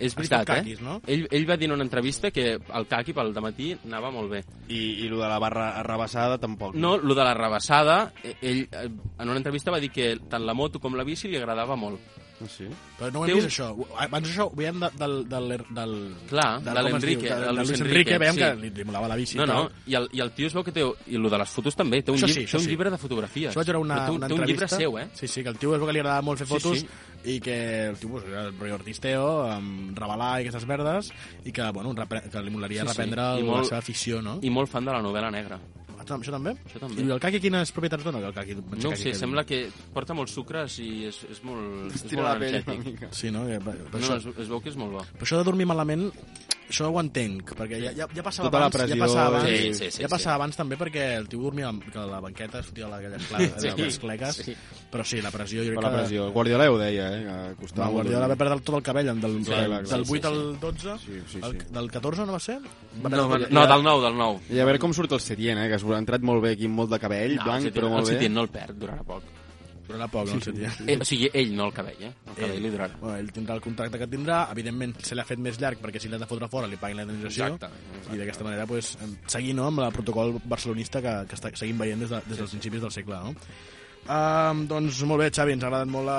S10: és veritat,
S6: caquis,
S10: eh?
S6: no?
S10: Ell, ell va dir en una entrevista que el caqui pel dematí anava molt bé.
S9: I, i lo de la barra arrabassada tampoc.
S10: No, lo de la rebassada, eh, ell eh, en una entrevista va dir que tant la moto com la bici li agradava molt.
S9: Sí.
S6: Però no ho hem
S10: Té un-
S6: vist, això. Ah, Abans això ho veiem de- del... del, del
S10: Clar, de,
S6: com es diu,
S10: l'Enrique.
S6: de,
S10: del
S6: de Luis Enrique, veiem que li, li molava la bici.
S10: No,
S6: i
S10: no,
S6: tal.
S10: i el, i el tio es veu que té... I el de les fotos també, té un,
S6: Això
S10: llibre,
S6: sí,
S10: té
S6: això
S10: un
S6: sí.
S10: llibre de fotografies.
S6: Això vaig veure una,
S10: Però té,
S6: una
S10: té un llibre
S6: entrevista.
S10: seu, eh?
S6: Sí, sí, que el tio es veu que li agradava molt fer
S10: Sí,
S6: fotos
S10: sí.
S6: i que el tio pues, era el rotllo artisteo, amb revelar i aquestes verdes, i que, bueno, repre, que li molaria reprendre
S10: I
S6: la seva afició, no?
S10: I molt fan de la novel·la negra.
S6: Ah, Això també?
S10: Això també.
S6: I el caqui quines propietats dona? El caqui,
S10: No ho sé, sembla que porta molts sucres i és, és molt, és
S6: Estira
S10: molt
S6: la pell una
S10: energètic.
S6: mica. Sí, no? Que- per- per
S10: no,
S6: això-
S10: es, es veu que és molt bo.
S6: Però això de dormir malament, això ho entenc, perquè ja, ja, ja passava
S10: Tota la
S6: abans,
S10: pressió
S6: ja passava abans,
S10: i- Sí, sí, sí,
S6: ja passava
S10: sí.
S6: abans també perquè el tio dormia amb- que a la banqueta, sortia a aquelles clares,
S9: Sí,
S6: sí, les cleques,
S9: sí.
S6: sí. però sí, la pressió...
S9: Per
S6: Jo crec
S9: Tota la
S6: que-
S9: pressió. El Guardiola ja ho deia, eh? Que
S6: Va,
S9: costava
S6: el Guardiola va perdre tot el cabell del, del,
S9: Sí, clar, clar.
S6: del
S9: Sí,
S6: 8
S9: sí,
S6: al 12
S9: sí,
S6: El, del 14 no va ser? Va
S10: No,
S6: perdre-
S10: no, del 9, del 9.
S9: I a veure com surt el Setien, eh? Que ha entrat molt bé aquí, amb molt de cabell,
S10: No,
S9: blanc,
S10: Ah, el Setien-
S9: però molt
S10: el
S9: bé.
S10: Setien no el perd, durarà poc.
S6: Durarà poc, no, el Setien.
S10: Eh, o sigui, ell no el cabell, eh? El cabell li durarà.
S6: Bueno, ell tindrà el contracte que tindrà, evidentment se l'ha fet més llarg perquè si l'ha de fotre fora li paguin la indemnització
S10: Exactament,
S6: i d'aquesta manera pues, em- seguir no, amb el protocol barcelonista que, que està, seguim veient des, de, des dels principis del segle. No? Um, doncs molt bé, Xavi, ens ha agradat molt la...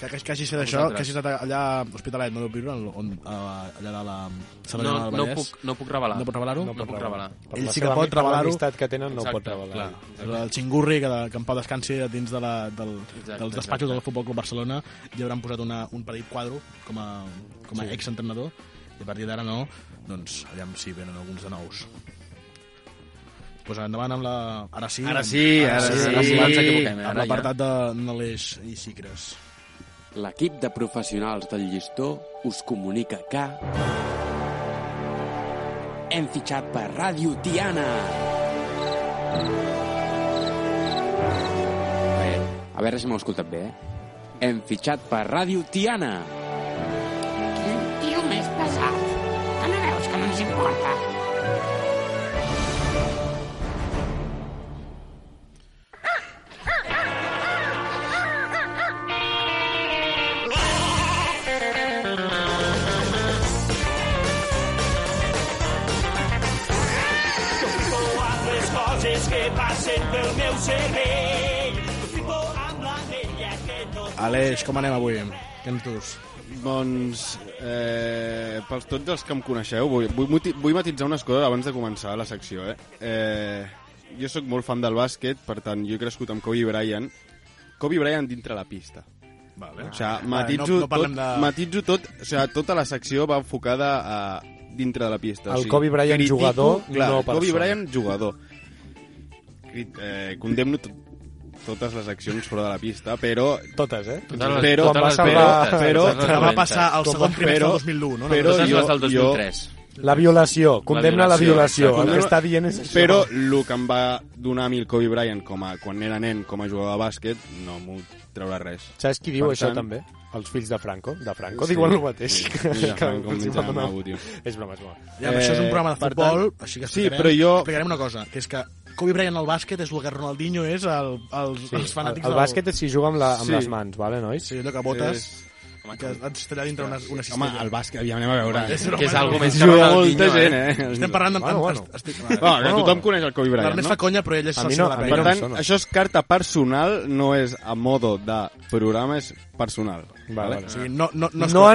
S6: que, que, que hagi estat
S10: A
S6: això,
S10: vosaltres.
S6: que hagi estat allà a Hospitalet, no viure, on, a, allà de la Sant
S10: No,
S6: Adrià del
S10: no
S6: Vallès.
S10: puc- no puc revelar.
S6: No pot revelar-ho?
S10: No puc
S6: pot
S10: revelar. Per
S6: Ell
S10: la
S6: sí que
S10: seva
S6: pot
S10: amistat-
S6: revelar-ho.
S10: amistat que tenen, no ho pot revelar.
S6: Clar,
S10: Exacte.
S6: el xingurri que, de, que en Pau descansi dins de la, del,
S10: Exacte,
S6: dels
S10: exacte.
S6: despatxos del Futbol Club Barcelona ja hauran posat una, un petit quadro com a, com a
S10: Sí.
S6: exentrenador i a partir d'ara no, doncs aviam si venen alguns de nous pues endavant amb la... Ara sí.
S9: Ara sí, ara sí.
S6: Amb,
S9: Ens equivoquem, eh?
S6: amb
S9: Ara
S6: l'apartat de Naleix i Sicres.
S13: L'equip de professionals del Llistó us comunica que... Hem fitxat per Ràdio Tiana. Bé, a veure si m'ho he escoltat bé, eh? Hem fitxat per Ràdio Tiana.
S14: Quin tio més pesat. Que no veus que no ens importa?
S15: les coses que passen pel meu cervell. Flipo amb la vella que no...
S6: Aleix, com anem avui? Què en tus?
S9: Doncs, eh, pels tots els que em coneixeu, vull, vull, mati- vull matitzar unes coses abans de començar la secció. Eh? Eh, jo sóc molt fan del bàsquet, per tant, jo he crescut amb Kobe Bryant. Kobe Bryant dintre la pista.
S6: Vale.
S9: O sigui,
S6: Vale,
S9: matitzo,
S6: no-
S9: no,
S6: no
S9: no tot,
S6: parlem
S9: de...
S6: de-
S9: matitzo tot, o sigui, tota la secció va enfocada a dintre de la pista.
S1: El
S9: o sigui,
S1: Kobe Bryant
S9: critico-
S1: jugador,
S9: clar,
S1: no
S9: el Kobe
S1: persona.
S9: Bryant jugador. Crit- Eh, condemno tot, totes les accions fora de la pista, però...
S1: Totes, eh?
S9: Però,
S1: Totes les-
S9: però,
S1: totes les
S9: però,
S1: dolentes,
S9: però,
S1: totes les Que va dolentes. passar al segon trimestre del
S9: però-
S1: 2001, no?
S9: Però
S1: Totes les
S9: jo,
S1: del
S9: jo,
S1: 2003. La violació, condemna la violació. El que està dient és això.
S9: Però el que em va donar a mi el Kobe Bryant com a, quan era nen com a jugador de bàsquet no m'ho traurà res.
S1: Saps qui diu
S9: Per
S1: això
S9: tant,
S1: també? Els fills de Franco. De Franco
S9: Sí,
S1: diuen el mateix.
S9: sí. Mira, Franco,
S1: els hi
S9: menja
S1: va donar-
S9: mago, tio.
S1: És broma, és broma.
S6: Ja, eh, això és un programa de
S1: per
S6: futbol,
S1: tant-
S6: així que
S1: Sí,
S6: explicarem,
S1: però jo-
S6: explicarem una cosa, que és que Kobe Bryant al bàsquet és el que Ronaldinho és el, els,
S1: Sí,
S6: els fanàtics
S1: el, el
S6: del-
S1: bàsquet és si juga amb, la, amb
S6: Sí.
S1: les mans, vale, nois?
S6: Sí, allò que botes, és... que has tallat dintre una, una cistella.
S9: Home, el bàsquet, aviam, anem a veure.
S6: És broma,
S9: Que és
S6: no?
S9: algo més que Juga Ronaldinho, molta eh? gent, eh?
S6: Estem parlant d'en...
S9: Bueno,
S6: en-
S9: bueno.
S6: estic-
S9: Va,
S1: Ah,
S9: que tothom coneix el Kobe Bryant, no?
S6: L'Ernest fa conya, però ell és soci de la penya.
S9: per tant, això és carta personal, no és a modo de programa, és personal. Vale?
S6: vale. O sigui, no- no- no es- no-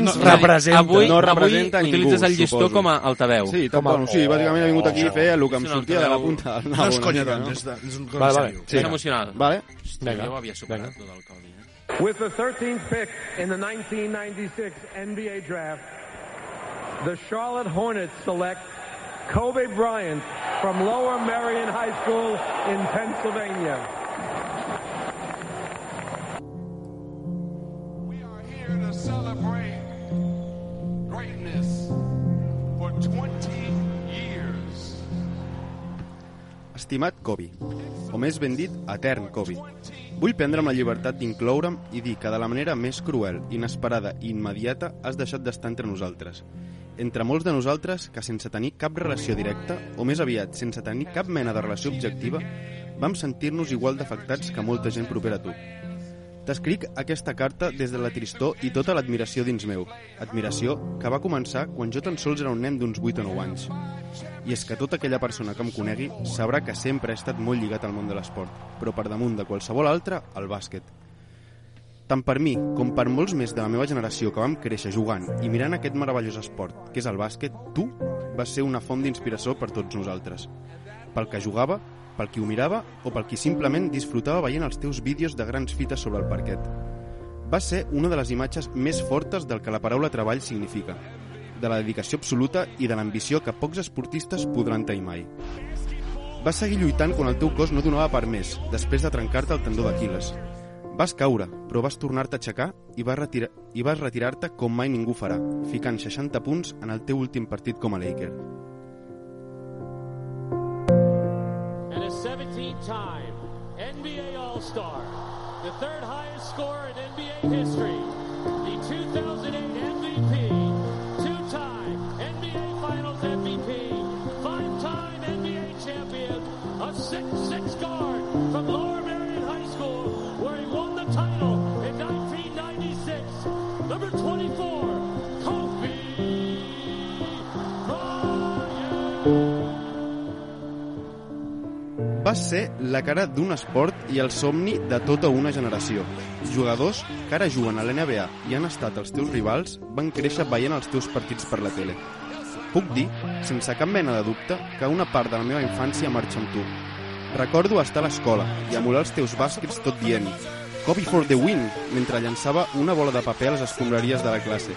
S10: Avui,
S9: no representa
S10: avui
S9: ningú,
S10: utilitzes el llistó
S9: suposo.
S10: com a altaveu.
S9: Sí, tampoc,
S10: Com a-
S9: sí, bàsicament he vingut aquí a
S10: Oh.
S9: fer el que
S10: És
S9: em
S10: un
S9: sortia de la
S10: altaveu.
S9: punta. del
S10: No
S9: nabo,
S10: és
S9: una
S10: conya,
S9: mica,
S10: doncs,
S9: no?
S10: és de- és un
S9: Vale, vale.
S10: comisari.
S9: Sí.
S10: És emocional.
S9: Vale.
S10: Hòstia, jo ho havia superat, tot el Kobe. eh?
S16: With the 13th pick in the 1996 NBA draft, the Charlotte Hornets select Kobe Bryant from Lower Marion High School in Pennsylvania.
S17: here to celebrate greatness for 20 years.
S9: Estimat Kobe, o més ben dit, etern Kobe,
S2: Vull prendre'm la llibertat d'incloure'm i dir que de la manera més cruel, inesperada i immediata has deixat d'estar entre nosaltres. Entre molts de nosaltres que sense tenir cap relació directa, o més aviat sense tenir cap mena de relació objectiva, vam sentir-nos igual d'afectats que molta gent propera a tu. T'escric aquesta carta des de la tristor i tota l'admiració dins meu. Admiració que va començar quan jo tan sols era un nen d'uns 8 o 9 anys. I és que tota aquella persona que em conegui sabrà que sempre he estat molt lligat al món de l'esport, però per damunt de qualsevol altre, al bàsquet. Tant per mi com per molts més de la meva generació que vam créixer jugant i mirant aquest meravellós esport, que és el bàsquet, tu vas ser una font d'inspiració per tots nosaltres. Pel que jugava, pel qui ho mirava o pel qui simplement disfrutava veient els teus vídeos de grans fites sobre el parquet. Va ser una de les imatges més fortes del que la paraula treball significa, de la dedicació absoluta i de l'ambició que pocs esportistes podran tenir mai. Vas seguir lluitant quan el teu cos no donava per més, després de trencar-te el tendó d'Aquiles. Vas caure, però vas tornar-te a aixecar i vas, retirar i vas retirar-te com mai ningú farà, ficant 60 punts en el teu últim partit com a Laker.
S18: and a 17-time NBA All-Star, the third highest scorer in NBA history, the 2008 MVP, two-time NBA Finals MVP, five-time NBA champion, a 6'6 guard from Lower Marion High School, where he won the title in 1996. Number 24, Kobe Bryant.
S2: Vas ser la cara d'un esport i el somni de tota una generació. Jugadors que ara juguen a l'NBA i han estat els teus rivals van créixer veient els teus partits per la tele. Puc dir, sense cap mena de dubte, que una part de la meva infància marxa amb tu. Recordo estar a l'escola i emular els teus bàsquets tot dient Kobe for the win, mentre llançava una bola de paper a les escombraries de la classe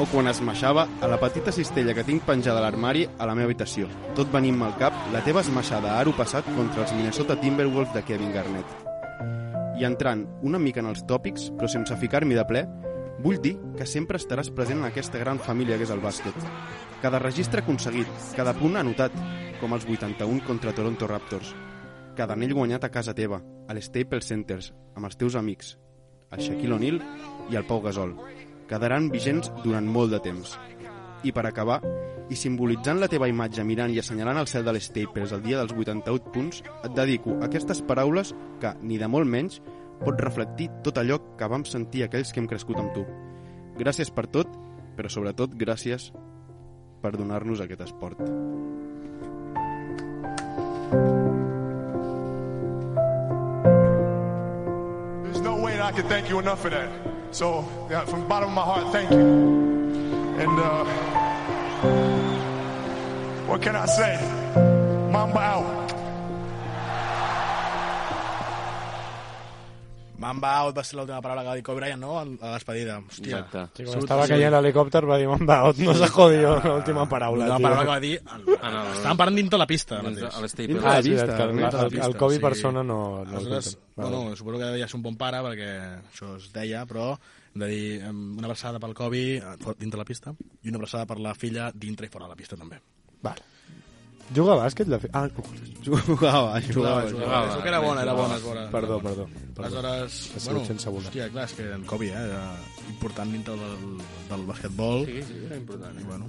S2: o quan es maixava a la petita cistella que tinc penjada a l'armari a la meva habitació. Tot venint-me al cap la teva esmaixada a aro passat contra els Minnesota Timberwolves de Kevin Garnett. I entrant una mica en els tòpics, però sense ficar-m'hi de ple, vull dir que sempre estaràs present en aquesta gran família que és el bàsquet. Cada registre aconseguit, cada punt anotat, com els 81 contra Toronto Raptors. Cada anell guanyat a casa teva, a les Staples Centers, amb els teus amics, el Shaquille O'Neal i el Pau Gasol quedaran vigents durant molt de temps. I per acabar, i simbolitzant la teva imatge mirant i assenyalant el cel de les Staples el dia dels 88 punts, et dedico aquestes paraules que, ni de molt menys, pot reflectir tot allò que vam sentir aquells que hem crescut amb tu. Gràcies per tot, però sobretot gràcies per donar-nos aquest esport.
S9: There's no way that I can thank you enough for that. So, yeah, from the bottom of my heart, thank you. And uh, what can I say? Mamba out.
S6: Mamba out va ser l'última paraula que va dir Kobe Bryant, no? A la despedida. Hòstia.
S19: Exacte.
S10: Sí, quan estava caient l'helicòpter va dir "Mamba, no s'ha jodido l'última paraula.
S6: La
S10: tio".
S6: paraula que va dir... Estaven parlant dintre la pista.
S19: Dins de-
S6: mateix.
S19: a les tapes.
S10: Dintre la Ah, és veritat, pista, que el- dintre la el- pista, el Kobe sí. persona no- no el
S6: Aleshores,
S10: compten.
S6: no, no, suposo que deia ser un bon pare, perquè això es deia, però hem de dir em, una abraçada pel Kobe eh, fo- dintre la pista i una abraçada per la filla dintre i fora de la pista, també.
S10: Juga a bàsquet? La fi... Ah, no.
S2: Jugava,
S6: jugava. jugava. Això que era bona, era bona, és bona.
S10: eh, Perdó, perdó. perdó.
S6: Aleshores,
S10: Ha sigut
S6: bueno,
S10: sense voler.
S6: hòstia, clar, és que en Kobe, eh, era important dintre del, del basquetbol.
S19: Sí, sí, era important.
S6: I, bueno,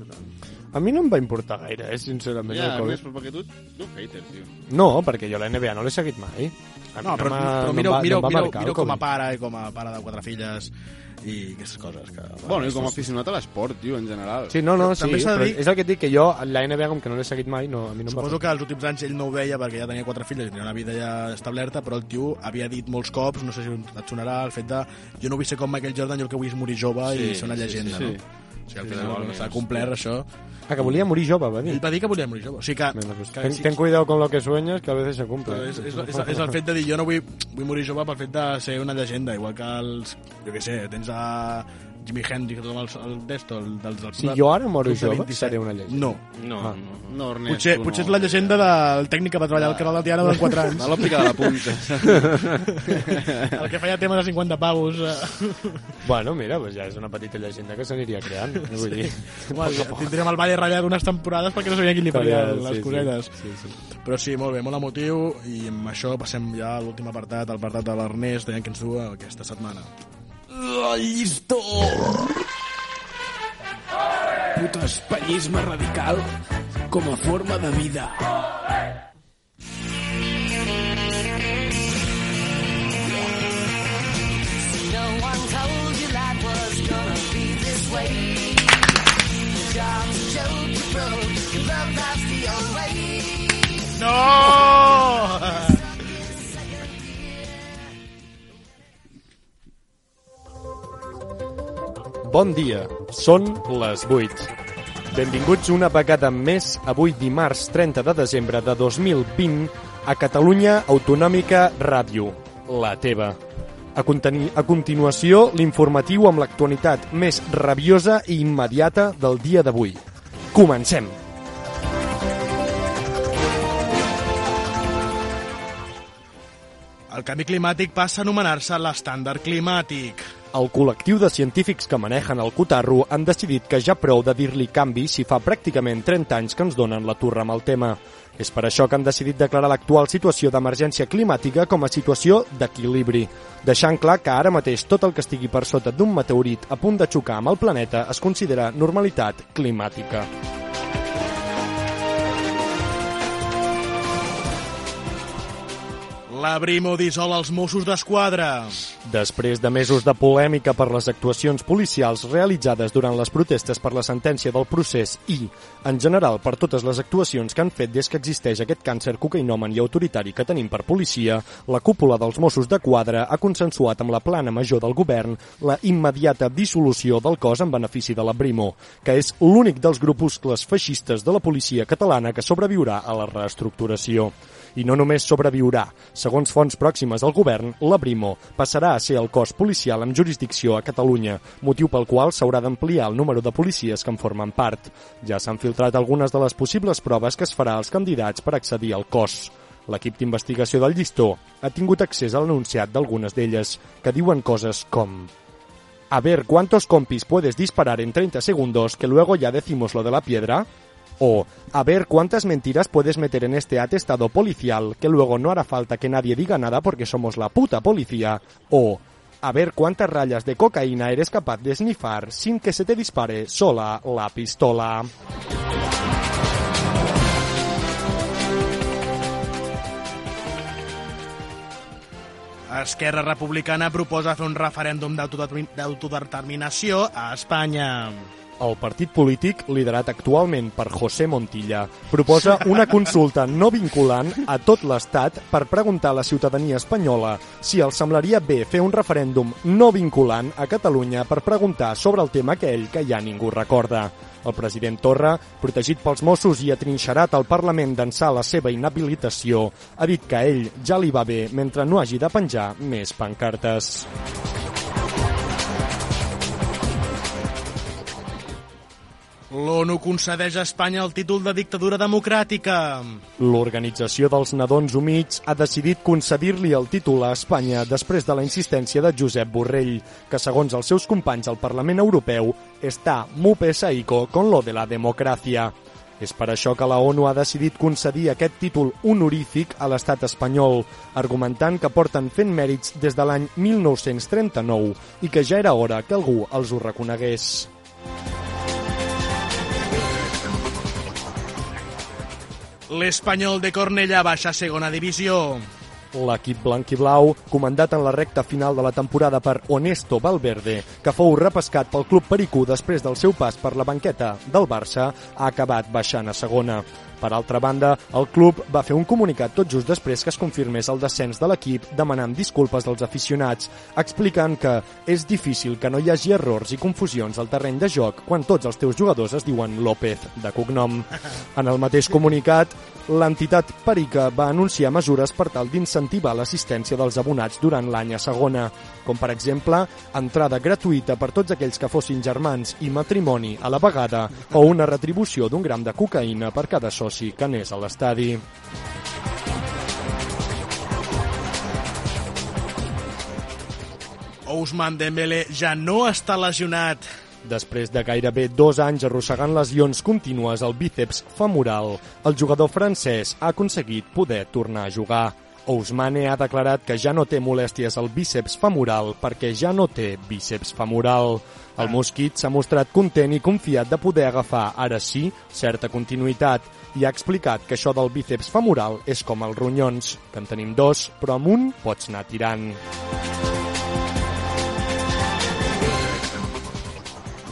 S10: A mi no em va importar gaire, eh, sincerament,
S2: Ja,
S10: el Kobe.
S2: més, però perquè tu ets un hater, tio.
S1: Ah,
S10: No, perquè jo la NBA no l'he seguit mai. A mi
S6: No, però,
S10: m'ha-
S6: però
S10: em
S6: mira,
S10: va-
S6: mira,
S10: em va
S6: mira,
S10: marcar el
S6: mira com a
S10: Kobe.
S6: pare i com a pare de quatre filles i aquestes coses. Que,
S2: Bueno, i com a aficionat a l'esport, tio, en general.
S10: Sí, no, no,
S6: Però
S10: sí,
S6: també s'ha de
S10: però
S6: dir-
S10: és el que et dic, que jo la NBA com que no l'he seguit mai, no, a mi no em va
S6: Suposo que els últims anys ell no ho veia perquè ja tenia quatre filles i tenia una vida ja establerta, però el tio havia dit molts cops, no sé si et sonarà, el fet de jo no vull ser com Michael Jordan, jo el que vull és morir jove
S19: Sí,
S6: i ser una
S19: sí,
S6: llegenda,
S19: sí.
S6: no? O sigui, al
S19: Sí,
S6: final
S19: igualment,
S6: no s'ha complert això.
S10: Ah, que volia morir jove, va dir.
S6: Ell va dir que volia morir jove. O sigui que... que
S10: Ten,
S6: sí,
S10: ten cuidado con lo que sueñas, que a veces se
S6: però
S10: cumple.
S6: és, és, és, és el fet de dir jo no vull, vull morir jove pel fet de ser una llegenda, igual que els, jo què sé, tens a Jimi Hendrix, el, el, el, d'esto, el dels del
S1: Si jo ara moro
S6: Club de
S1: jove,
S6: 27.
S1: seré una llegenda.
S6: No.
S10: No,
S1: Ah.
S9: no, Ernest,
S6: Potser,
S9: tu no.
S6: potser és la llegenda del tècnic que va treballar al canal de Tiana de 4 anys.
S9: A l'òptica de la punta.
S6: el que feia temes de 50 pavos. eh.
S1: Bueno, mira, pues ja és una petita llegenda que s'aniria creant. Vull dir,
S6: Home, tindrem el Valle Ratllat unes temporades perquè no sabia qui li
S1: Que
S6: feia
S1: bé, sí,
S6: les
S1: sí.
S6: cosetes.
S1: Sí, sí.
S6: Però sí, molt bé, molt emotiu, i amb això passem ja a l'últim apartat, al apartat de l'Ernest, deien que ens du aquesta setmana.
S13: La llistó! Puto espanyisme radical com a forma de vida.
S15: No one told you life was gonna be this way. The job's a joke you broke, your love life's the old way.
S1: Bon dia, són les 8. Benvinguts una vegada més, avui dimarts 30 de desembre de 2020, a Catalunya Autonòmica Ràdio, la teva. A, conteni- a continuació, l'informatiu amb l'actualitat més rabiosa i immediata del dia d'avui. Comencem!
S6: El canvi climàtic passa a anomenar-se l'estàndard climàtic.
S1: El col·lectiu de científics que manegen el cotarro han decidit que ja prou de dir-li canvi si fa pràcticament 30 anys que ens donen la turra amb el tema. És per això que han decidit declarar l'actual situació d'emergència climàtica com a situació d'equilibri, deixant clar que ara mateix tot el que estigui per sota d'un meteorit a punt de xocar amb el planeta es considera normalitat climàtica.
S6: La Brimo dissol els Mossos d'Esquadra.
S1: Després de mesos de polèmica per les actuacions policials realitzades durant les protestes per la sentència del procés i, en general, per totes les actuacions que han fet des que existeix aquest càncer cocainòmen i autoritari que tenim per policia, la cúpula dels Mossos de Quadra ha consensuat amb la plana major del govern la immediata dissolució del cos en benefici de la Brimo, que és l'únic dels grupuscles feixistes de la policia catalana que sobreviurà a la reestructuració. I no només sobreviurà. Segons fonts pròximes al govern, la Brimo passarà a ser el cos policial amb jurisdicció a Catalunya, motiu pel qual s'haurà d'ampliar el número de policies que en formen part. Ja s'han filtrat algunes de les possibles proves que es farà als candidats per accedir al cos. L'equip d'investigació del Llistó ha tingut accés a l'anunciat d'algunes d'elles, que diuen coses com... A ver cuántos compis puedes disparar en 30 segundos que luego ya decimos lo de la piedra. O a ver cuántas mentiras puedes meter en este atestado policial que luego no hará falta que nadie diga nada porque somos la puta policía. O a ver cuántas rayas de cocaína eres capaz de snifar sin que se te dispare sola la pistola.
S6: Esquerra Republicana proposa fer un referèndum d'autodetermin- d'autodeterminació a Espanya.
S1: El partit polític, liderat actualment per José Montilla, proposa una consulta no vinculant a tot l'Estat per preguntar a la ciutadania espanyola si els semblaria bé fer un referèndum no vinculant a Catalunya per preguntar sobre el tema aquell que ja ningú recorda. El president Torra, protegit pels Mossos i atrinxerat al Parlament d'ençà la seva inhabilitació, ha dit que a ell ja li va bé mentre no hagi de penjar més pancartes.
S6: L'ONU concedeix a Espanya el títol de dictadura democràtica.
S1: L'organització dels nadons humits ha decidit concedir-li el títol a Espanya després de la insistència de Josep Borrell, que segons els seus companys al Parlament Europeu està muy pesaico con lo de la democràcia. És per això que la ONU ha decidit concedir aquest títol honorífic a l'estat espanyol, argumentant que porten fent mèrits des de l'any 1939 i que ja era hora que algú els ho reconegués.
S6: L'Espanyol de Cornellà baixa a segona divisió.
S1: L'equip blanquiblau, comandat en la recta final de la temporada per Onesto Valverde, que fou repescat pel club pericú després del seu pas per la banqueta del Barça, ha acabat baixant a segona.
S8: Per altra banda, el club va fer un comunicat tot just després que es confirmés el descens de l'equip demanant disculpes dels aficionats, explicant que és difícil que no hi hagi errors i confusions al terreny de joc quan tots els teus jugadors es diuen López, de cognom. En el mateix comunicat, l'entitat Perica va anunciar mesures per tal d'incentivar l'assistència dels abonats durant l'any a segona, com per exemple entrada gratuïta per tots aquells que fossin germans i matrimoni a la vegada o una retribució d'un gram de cocaïna per cada soci que anés a l'estadi.
S6: Ousmane Dembélé ja no està lesionat.
S8: Després de gairebé dos anys arrossegant lesions contínues al bíceps femoral, el jugador francès ha aconseguit poder tornar a jugar. Ousmane ha declarat que ja no té molèsties al bíceps femoral perquè ja no té bíceps femoral. El Mosquit s'ha mostrat content i confiat de poder agafar, ara sí, certa continuïtat i ha explicat que això del bíceps femoral és com els ronyons, que en tenim dos, però amb un pots anar tirant.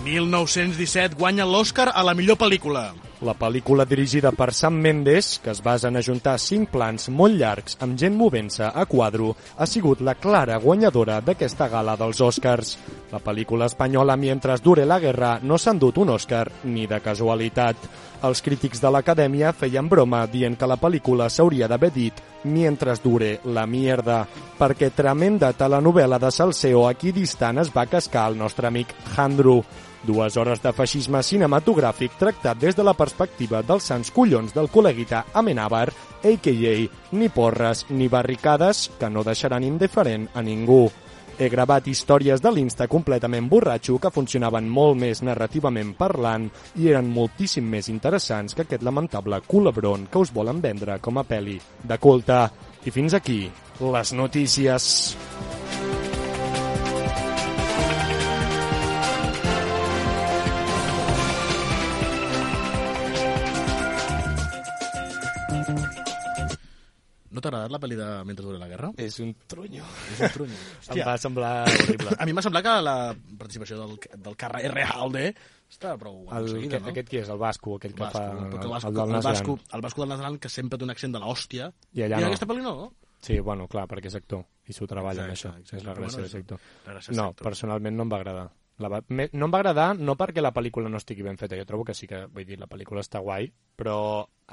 S6: 1917 guanya l'Oscar a la millor pel·lícula.
S8: La pel·lícula dirigida per Sam Mendes, que es basa en ajuntar cinc plans molt llargs amb gent movent-se a quadro, ha sigut la clara guanyadora d'aquesta gala dels Oscars. La pel·lícula espanyola Mientras dure la guerra no s'ha endut un Oscar ni de casualitat. Els crítics de l'acadèmia feien broma dient que la pel·lícula s'hauria d'haver dit Mientras dure la mierda, perquè tremenda telenovel·la de Salseo aquí distant es va cascar el nostre amic Handru. Dues hores de feixisme cinematogràfic tractat des de la perspectiva dels sants collons del col·leguita Amenàbar, a.k.a. ni porres ni barricades que no deixaran indiferent a ningú. He gravat històries de l'Insta completament borratxo que funcionaven molt més narrativament parlant i eren moltíssim més interessants que aquest lamentable culebron que us volen vendre com a peli de culte. I fins aquí, les notícies.
S6: No t'ha agradat la pel·li de Mentre dure la guerra?
S8: És un trunyo.
S6: És un trunyo.
S8: Em va semblar horrible.
S6: A mi em va semblar que la participació del, del Carrer Realde està prou
S8: El,
S6: aconseguida,
S8: aquest,
S6: no?
S8: aquest qui és? El basco, aquell que
S6: Basco,
S8: fa...
S6: perquè el basco, el,
S8: del
S6: el,
S8: nas gran.
S6: basco, el basco del Nasran, que sempre té un accent de l'hòstia,
S8: I allà
S6: i en
S8: no.
S6: aquesta pel·li no, no?
S8: Sí, bueno, clar, perquè és actor i s'ho treballa en això.
S6: Exacte, exacte.
S8: És la
S6: Però
S8: gràcia
S6: bueno,
S8: de ser actor.
S6: la gràcia de ser
S8: No,
S6: actor.
S8: personalment no em va agradar. La va... me- No em va agradar no perquè la pel·lícula no estigui ben feta, jo trobo que sí que, vull dir, la pel·lícula està guai, però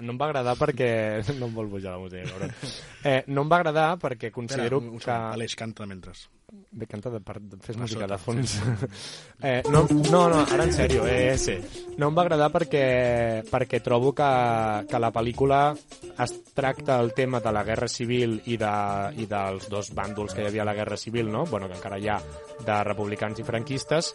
S8: no em va agradar perquè... No em vol pujar la música, cabrón. Eh, no em va agradar perquè
S6: Espera,
S8: considero
S6: un- un
S8: que...
S6: segon. Aleix, canta mentre.
S8: Bé, canta de part... Fes
S6: A
S8: música
S6: sota,
S8: de fons. eh, no, no, no, ara en sèrio, eh, sí. No em va agradar perquè, perquè trobo que, que la pel·lícula es tracta el tema de la guerra civil i, de, i dels dos bàndols que hi havia a la guerra civil, no? bueno, que encara hi ha, de republicans i franquistes,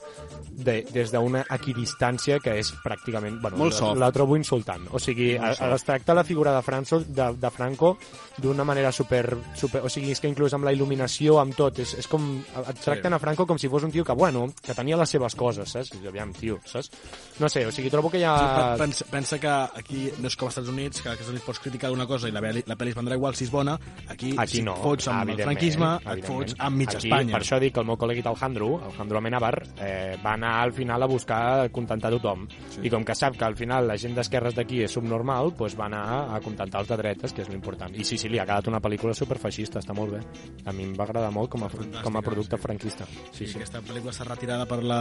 S8: de, des d'una equidistància que és pràcticament... Bueno,
S20: Molt
S8: la-
S20: soft.
S8: La trobo insultant. O sigui,
S20: Molt
S8: a-
S20: soft.
S8: es tracta la figura de, Franco, de, de Franco d'una manera super, super... O sigui, és que inclús amb la il·luminació, amb tot, és, és com... Et tracten a Franco com si fos un tio que, bueno, que tenia les seves coses, saps? I, aviam, tio, saps? No sé, o sigui, trobo que hi ha...
S6: Pe- Pensa, pensa que aquí no és com als Estats Units, que als Estats Units pots criticar una cosa i la, pel·li- la pel·li es vendrà igual si és bona. Aquí,
S8: Aquí
S6: si
S8: no,
S6: et fots amb el
S8: evidentment,
S6: franquisme, et
S8: evidentment.
S6: fots amb mitja
S8: Aquí,
S6: Espanya.
S8: Per això dic que el meu col·legui Alejandro, Alejandro Amenabar, eh, va anar al final a buscar contentar tothom. Sí. I com que sap que al final la gent d'esquerres d'aquí és subnormal, doncs va anar a contentar els de dretes, que és l'important. I sí, sí, li ha quedat una pel·lícula superfeixista, està molt bé. A mi em va agradar molt com a, com a producte franquista.
S6: Sí, sí. Aquesta pel·lícula està retirada per la,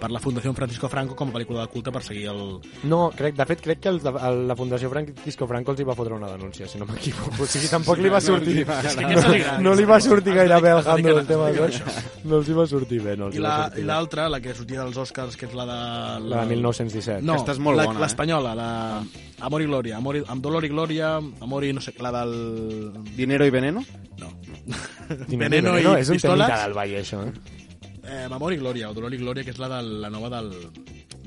S6: per la Fundació Francisco Franco com a pel·lícula de culte per seguir el...
S8: No, crec, de fet, crec que els de, el- la Fundació Francisco Franco els hi va fotre una denúncia, si no m'equivoco. O sigui, tampoc li va
S6: Sí, no, no,
S8: sortir...
S6: és que
S8: No,
S6: aquests són grans.
S8: no li va sortir gaire bé al
S6: Es dediquen-
S8: Handro el
S6: es
S8: tema.
S6: dediquen a
S8: no? No els hi va sortir bé, no els
S6: I
S8: hi va
S6: la- i
S8: sortir bé.
S6: l'altra, la, que sortia dels Oscars, que és la de...
S8: La de 1917.
S6: No,
S8: Aquesta és molt
S6: la-
S8: bona, eh?
S6: l'espanyola, la Amor i Glòria, Amor i, amb Dolor i Glòria, Amor i no sé, la del...
S20: Dinero i veneno?
S6: No.
S8: Veneno i és un
S6: pistoles.
S8: temita del ball, això, eh?
S6: Eh, Amor i Glòria, o Dolor i Glòria, que és la de la nova del...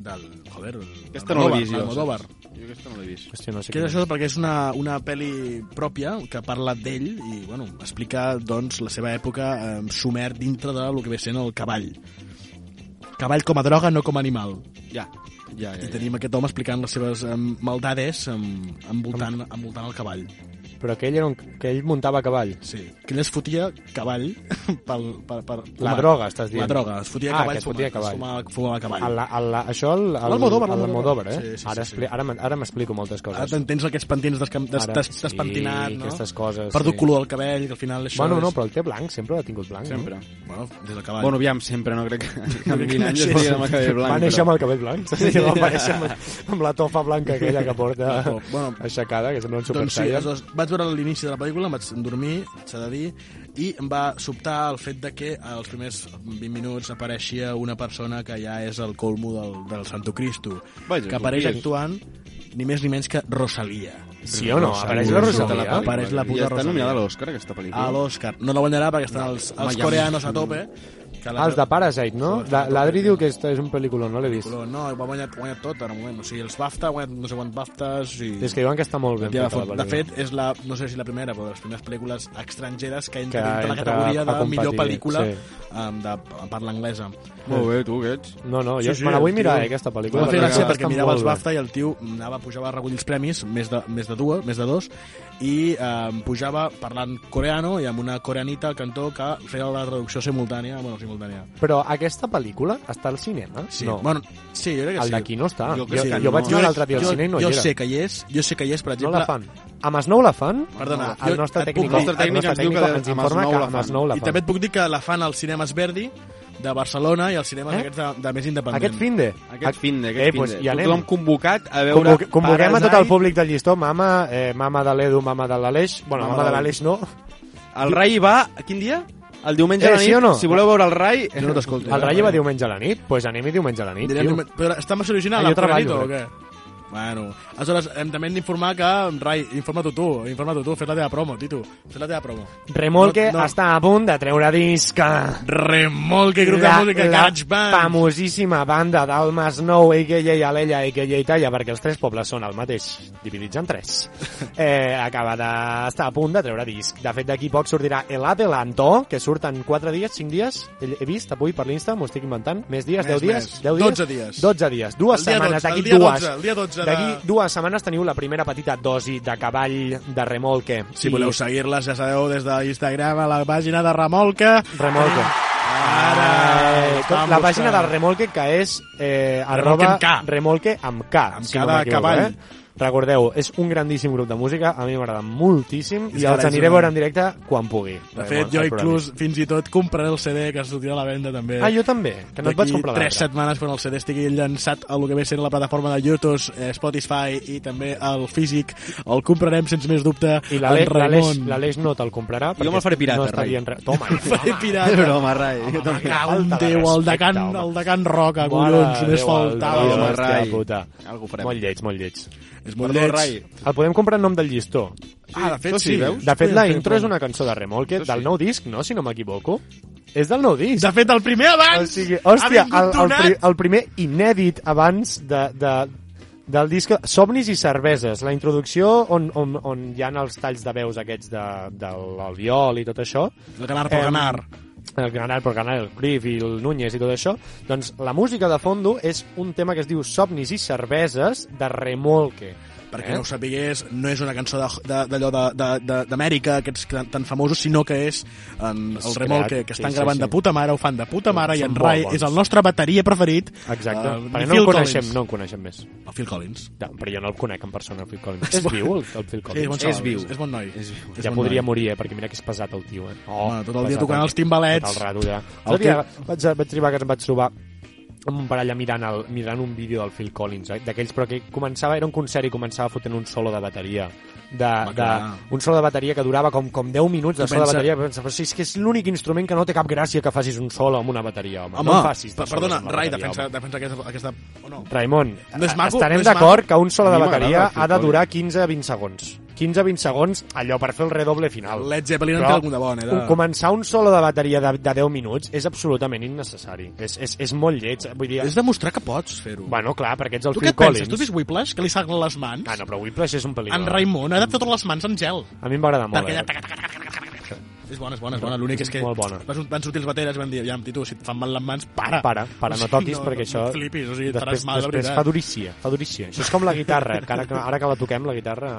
S6: del joder,
S20: Aquesta no l'he vist jo.
S6: Almodóvar.
S20: saps? Jo aquesta no l'he vist.
S8: Hòstia, no sé
S6: Que és això perquè és una, una pel·li pròpia que parla d'ell i bueno, explica doncs, la seva època eh, sumer dintre de lo que ve sent el cavall. Cavall com a droga, no com a animal.
S20: Ja. Ja, ja,
S6: I tenim aquest home explicant les seves eh, maldades em, envoltant, envoltant el cavall.
S1: Però que ell, era un, que ell muntava a cavall.
S6: Sí. Que ell es fotia cavall pel, per, per
S1: La
S6: fumar.
S1: droga, estàs dient.
S6: La droga, es fotia
S1: ah,
S6: cavall
S1: que es fotia a cavall.
S6: Fumava, fumava cavall.
S1: A la, a la, això al, al,
S6: L'Almodóvar,
S1: a l'Almodóvar, eh?
S6: l'Almodóvar. Sí, sí,
S1: ara
S6: sí,
S1: expli- ara m'en- ara m'explico moltes coses.
S6: Ara t'entens aquests pentins descam- des,
S1: Ara,
S6: des,
S1: sí,
S6: despentinat, no?
S1: aquestes coses,
S6: Perdo
S1: sí.
S6: color al cabell, que al final això
S1: bueno, no,
S6: és...
S1: però el té blanc, sempre l'ha tingut blanc.
S6: Sempre.
S1: No?
S6: Bueno, des del cavall.
S9: Bueno, aviam, sempre, no crec que... que amb
S1: Crec que
S9: 20 anys
S1: naixés-
S9: es podia amb el cabell blanc.
S1: Va néixer
S9: però-
S1: amb el cabell blanc. Sí, va aparèixer amb, amb la tofa blanca aquella que porta bueno, aixecada, que sembla un super
S6: Doncs sí,
S1: Saiyan.
S6: aleshores, vaig veure l'inici de la pel·lícula, em vaig dormir, s'ha de dir, i em va sobtar el fet de que als primers 20 minuts apareixia una persona que ja és el colmo del, del Santo Cristo,
S1: Vaja,
S6: que apareix
S1: Tobias.
S6: actuant ni més ni menys que Rosalia.
S1: Sí o no? Apareix la Rosalia?
S6: Apareix la puta
S9: Ja està
S6: Rosalia.
S9: nominada a l'Oscar, aquesta pel·lícula.
S13: Ah,
S6: A l'Oscar. No la guanyarà perquè estan els, els
S9: Miami.
S6: coreanos a tope. Que
S1: Ah, els de Parasite, no? La- L'Adri diu que esta és un pel·lícula, no l'he vist.
S6: Color, no, va guanyar, guanyar tot en un moment. O sigui, els BAFTA, ha guanyat no sé quant BAFTAs... I...
S1: És que diuen que està molt ben
S6: ja,
S1: feta, la
S6: de, de
S1: pel·lícula.
S6: fet, és la, no sé si la primera, però de les primeres pel·lícules estrangeres que
S1: Que
S6: entra dintre la
S1: entra
S6: categoria
S1: a
S6: de millor
S1: competir,
S6: pel·lícula
S1: sí.
S6: um, de parla anglesa.
S9: Molt bé, tu, que ets.
S1: No, no, jo me la vull
S6: el
S1: mirar,
S6: tio-
S1: eh, aquesta pel·lícula,
S6: Em va fer
S1: perquè
S6: gràcia
S1: està
S6: perquè mirava
S1: molt
S6: els
S1: bé.
S6: BAFTA i el tio anava, pujava a recollir els premis, més de, més de dues, més de dos, i eh, pujava parlant coreano i amb una coreanita al cantó que feia la traducció simultània, bueno, simultània.
S1: Però aquesta pel·lícula està al cinema?
S6: Sí,
S1: No.
S6: bueno, sí, jo crec que
S1: El
S6: sí.
S1: d'aquí no està. Jo,
S6: crec
S1: jo,
S6: que
S1: jo
S6: no.
S1: vaig veure l'altre dia al
S6: jo-
S1: cine i no
S6: jo
S1: hi era.
S6: sé que hi és, jo sé que hi és, per exemple...
S1: No la fan. Amb Snow la fan?
S9: Ah,
S6: Perdona,
S1: el
S6: jo
S1: nostre
S6: et puc
S1: tècnic,
S6: dir-
S1: el nostre tècnic ens informa que amb Snow la
S6: I també
S1: fan.
S6: et puc dir que la fan als cinemes Verdi de Barcelona i als cinemes
S1: Eh?
S6: eh? aquests de, de més independent.
S1: Aquest finde.
S6: Aquest finde,
S1: Eh, pues, hi anem.
S9: Tothom convocat a veure...
S1: Convoque, convoquem a tot el
S9: Parasite.
S1: públic del llistó, mama, eh, mama de l'Edu, mama de l'Aleix... Bueno, mama,
S9: Mama
S1: de
S9: del-
S1: l'Aleix no.
S9: El Rai va... Quin dia? El diumenge
S1: Eh,
S9: a la nit.
S1: sí o no?
S9: Si voleu veure el Rai...
S1: Jo no t'escolto.
S6: eh?
S1: El Rayo va diumenge a la nit? Doncs pues anem-hi diumenge a la nit,
S6: Direm,
S1: tio.
S6: però està més original,
S1: Ah, jo
S6: el
S1: treballo,
S6: treballo, o què? Bueno, aleshores, hem, també hem d'informar que, Rai, informa't tu, informa't tu, fes la teva promo, Tito, fes la teva promo.
S1: Remolque està a punt de treure disc.
S6: Remolque, grup de música,
S1: la
S6: Garage Band.
S1: famosíssima banda del Masnou, a.k.a. Alella, a.k.a. Italla, perquè els tres pobles són el mateix, dividits en tres. Eh, acaba d'estar a punt de treure disc. De fet, d'aquí poc sortirà El Adelanto, que surt en 4 dies, 5 dies, he he vist avui per l'Insta, m'ho estic inventant, més dies, 10
S6: Més,
S1: dies,
S6: més.
S1: 10 dies,
S6: 12 dies.
S1: 12 dies, dues
S6: El dia
S1: setmanes,
S6: 12, el
S1: d'aquí
S6: dia
S1: dues.
S6: 12, el dia 12 de-
S1: D'aquí dues setmanes teniu la primera petita dosi de cavall de remolque.
S6: Si voleu seguir-les, ja sabeu, des d'Instagram a la pàgina de Remolque.
S1: Remolque.
S6: Ara...
S1: Eh, com-
S6: estan
S1: la pàgina
S6: buscant.
S1: del remolque que és eh,
S6: Remolque
S1: arroba
S6: amb K.
S1: remolque amb K,
S6: Amb
S1: si
S6: K
S1: no
S6: de
S1: m'equivoco,
S6: cavall.
S1: Eh? Recordeu, és un grandíssim grup de música, a mi m'agrada moltíssim
S6: És
S1: i els
S6: carai,
S1: aniré a
S6: és
S1: veure
S6: una-
S1: en directe quan pugui.
S6: De fet, jo inclús fins i tot compraré el CD que sortirà a la venda també.
S1: Ah, jo també, que no et vaig
S6: D'aquí
S1: comprar
S6: tres
S1: l'altre.
S6: setmanes quan el CD estigui llançat a lo que ve sent la plataforma de YouTube, eh, Spotify i també el físic, el comprarem sense més dubte.
S1: I
S6: en
S1: l'Aleix- l'Aleix
S6: Ramon.
S1: l'Aleix no te'l comprarà
S6: Jo me'l faré pirata,
S1: no està
S6: Rai.
S1: dient res. Toma,
S6: Em faré pirata.
S1: És broma, Rai.
S6: Home,
S1: Toma.
S6: cago en
S1: Falta de
S6: Déu, el de Can,
S1: respecte,
S6: el de Can Roca,
S1: Mare
S6: collons,
S1: de
S6: més
S1: Déu,
S6: faltava.
S1: Aleix,
S6: Home,
S1: hòstia
S6: Rai.
S1: puta.
S6: Algú farem.
S1: Molt lleig, molt lleig.
S6: És molt Perdó, lleig. Rai.
S1: El podem comprar en nom del llistó.
S6: Ah, de fet,
S1: Això
S6: sí, veus?
S1: De fet, la
S6: Podem fer
S1: intro és
S6: promo.
S1: una cançó de remolque del nou disc, no? Si no m'equivoco. És del nou disc.
S6: De fet, el primer abans
S1: O sigui, hòstia,
S6: ha vingut
S1: el, el,
S6: donat.
S1: pri, el primer inèdit abans de, de, del disc Somnis i cerveses, la introducció on, on, on hi ha els talls de veus aquests de, de l'Albiol i tot això.
S6: El ganar por ganar.
S1: El ganar por ganar, el Grif i el Núñez i tot això. Doncs la música de fondo és un tema que es diu Somnis i cerveses de Remolque.
S6: per qui no ho sapigués, no és una cançó de- de- d'allò de- de- de- d'Amèrica, aquests tan, tan famosos, sinó que és en, el
S1: És
S6: remolc que,
S1: creat,
S6: que
S1: sí,
S6: estan
S1: sí,
S6: gravant
S1: sí.
S6: de puta mare, ho fan de puta mare, i
S1: Són
S6: en
S1: molt
S6: Rai
S1: bons.
S6: és el nostre bateria preferit.
S1: Exacte,
S6: eh,
S1: perquè
S6: ni
S1: no
S6: Phil
S1: el coneixem,
S6: Collins.
S1: no el coneixem més.
S6: El Phil Collins.
S1: Ja, però jo no el conec en persona, el Phil Collins. És viu, el, el Phil Collins?
S6: Sí, és bon xaval, és- és bon noi. És viu. És
S1: Ja
S6: bon
S1: podria
S6: noi.
S1: morir, eh, perquè mira que és pesat el tio, eh? Oh,
S6: Home, tot el dia
S1: pesat,
S6: tocant
S1: eh?
S6: els timbalets.
S1: Tot el rato, ja.
S6: El
S1: El dia,
S6: tio-
S1: vaig, vaig arribar que em vaig trobar amb un parella mirant, el, mirant un vídeo del Phil Collins, eh? d'aquells, però que començava, era un concert i començava fotent un solo de bateria. De, de,
S6: clar.
S1: un solo de bateria que durava com, com 10 minuts de
S6: I
S1: solo de
S6: pensa-
S1: bateria. Pensa, però si és que és l'únic instrument que no té cap gràcia que facis un solo amb una bateria, home.
S6: Home,
S1: no en facis de
S6: per-
S1: solos
S6: perdona,
S1: amb la
S6: Rai,
S1: bateria,
S6: defensa,
S1: home.
S6: defensa aquesta... aquesta o no?
S1: Raimon,
S6: No és maco,
S1: estarem
S6: no és
S1: d'acord
S6: maco.
S1: que un solo de
S6: A mi m'agrada
S1: bateria
S6: el Phil
S1: ha de durar 15-20 segons. 15-20 segons, allò per fer el redoble final.
S6: Led Zeppelin en
S1: Però
S6: té algun de bon, eh, de-
S1: un- Començar un solo de bateria de, de 10 minuts és absolutament innecessari. És, és, és molt lleig. Vull dir,
S6: És demostrar que pots fer-ho.
S1: Bueno, clar, perquè ets el
S6: tu
S1: Phil
S6: què et penses?
S1: Collins.
S6: Tu has vist Whiplash, que li saglen les mans?
S1: Ah, no, però Whiplash és un pel·lícula.
S6: En Raimon ha de fer totes les mans en gel.
S1: A mi em va agradar molt.
S6: Perquè
S1: eh?
S6: allà taca, taca, taca, taca, taca, taca. És bona, és bona, és bona. L'únic és que
S1: Molt bona.
S6: Van, van sortir els bateres i van dir, ja, Tito, si et fan mal les mans, para.
S1: Para, para, no toquis, perquè això...
S6: No et flipis, o sigui, et
S1: després,
S6: faràs mal, de
S8: eh,
S1: després
S6: veritat.
S1: fa durícia, fa durícia. Això és com la guitarra, que ara, que, ara que la toquem, la guitarra...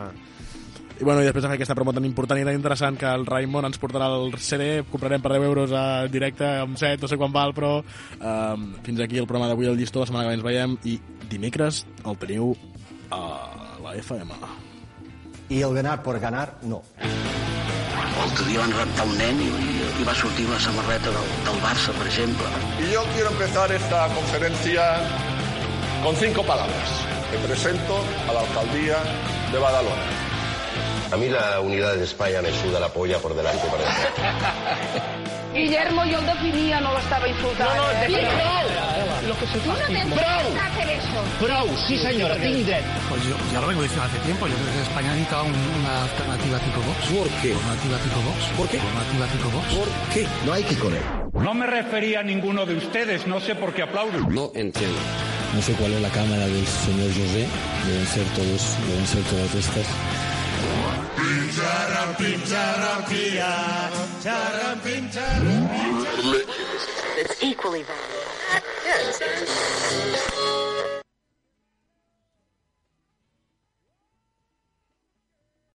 S6: I, bueno, i després de fer aquesta promo tan important i tan interessant que el Raimon ens portarà el CD, comprarem per 10 euros a directe, amb 7, no sé quan val, però eh, fins aquí el programa d'avui, el llistó, la setmana que ve ens veiem, i dimecres el teniu a la FM.
S2: I el ganar per ganar, no. L'altre dia van raptar un nen i, i va sortir una samarreta del, del Barça, per exemple.
S9: Y yo quiero empezar esta conferencia con cinco palabras que presento a la alcaldía de Badalona.
S4: A mí la unidad de España me suda la polla por delante y por detrás.
S5: Guillermo, yo el definía, no lo estaba insultando. No, no, Lo que se Tú no tendrías que hacer eso.
S21: Prou, sí señora, tinc Pues yo, ya lo vengo diciendo hace tiempo. Yo creo que España necesita un- una alternativa tipo Vox. ¿Por qué? Alternativa tipo Vox. ¿Por qué? Alternativa tipo Vox. ¿Por qué? No hay que correr.
S8: No me refería a ninguno de ustedes, no sé por qué aplauden.
S10: No entiendo. No sé cuál es la cámara del señor José. Deben ser todos, deben ser todas estas.
S22: Charrampín, charrampía, charrampín, charrampín. It's equally valid.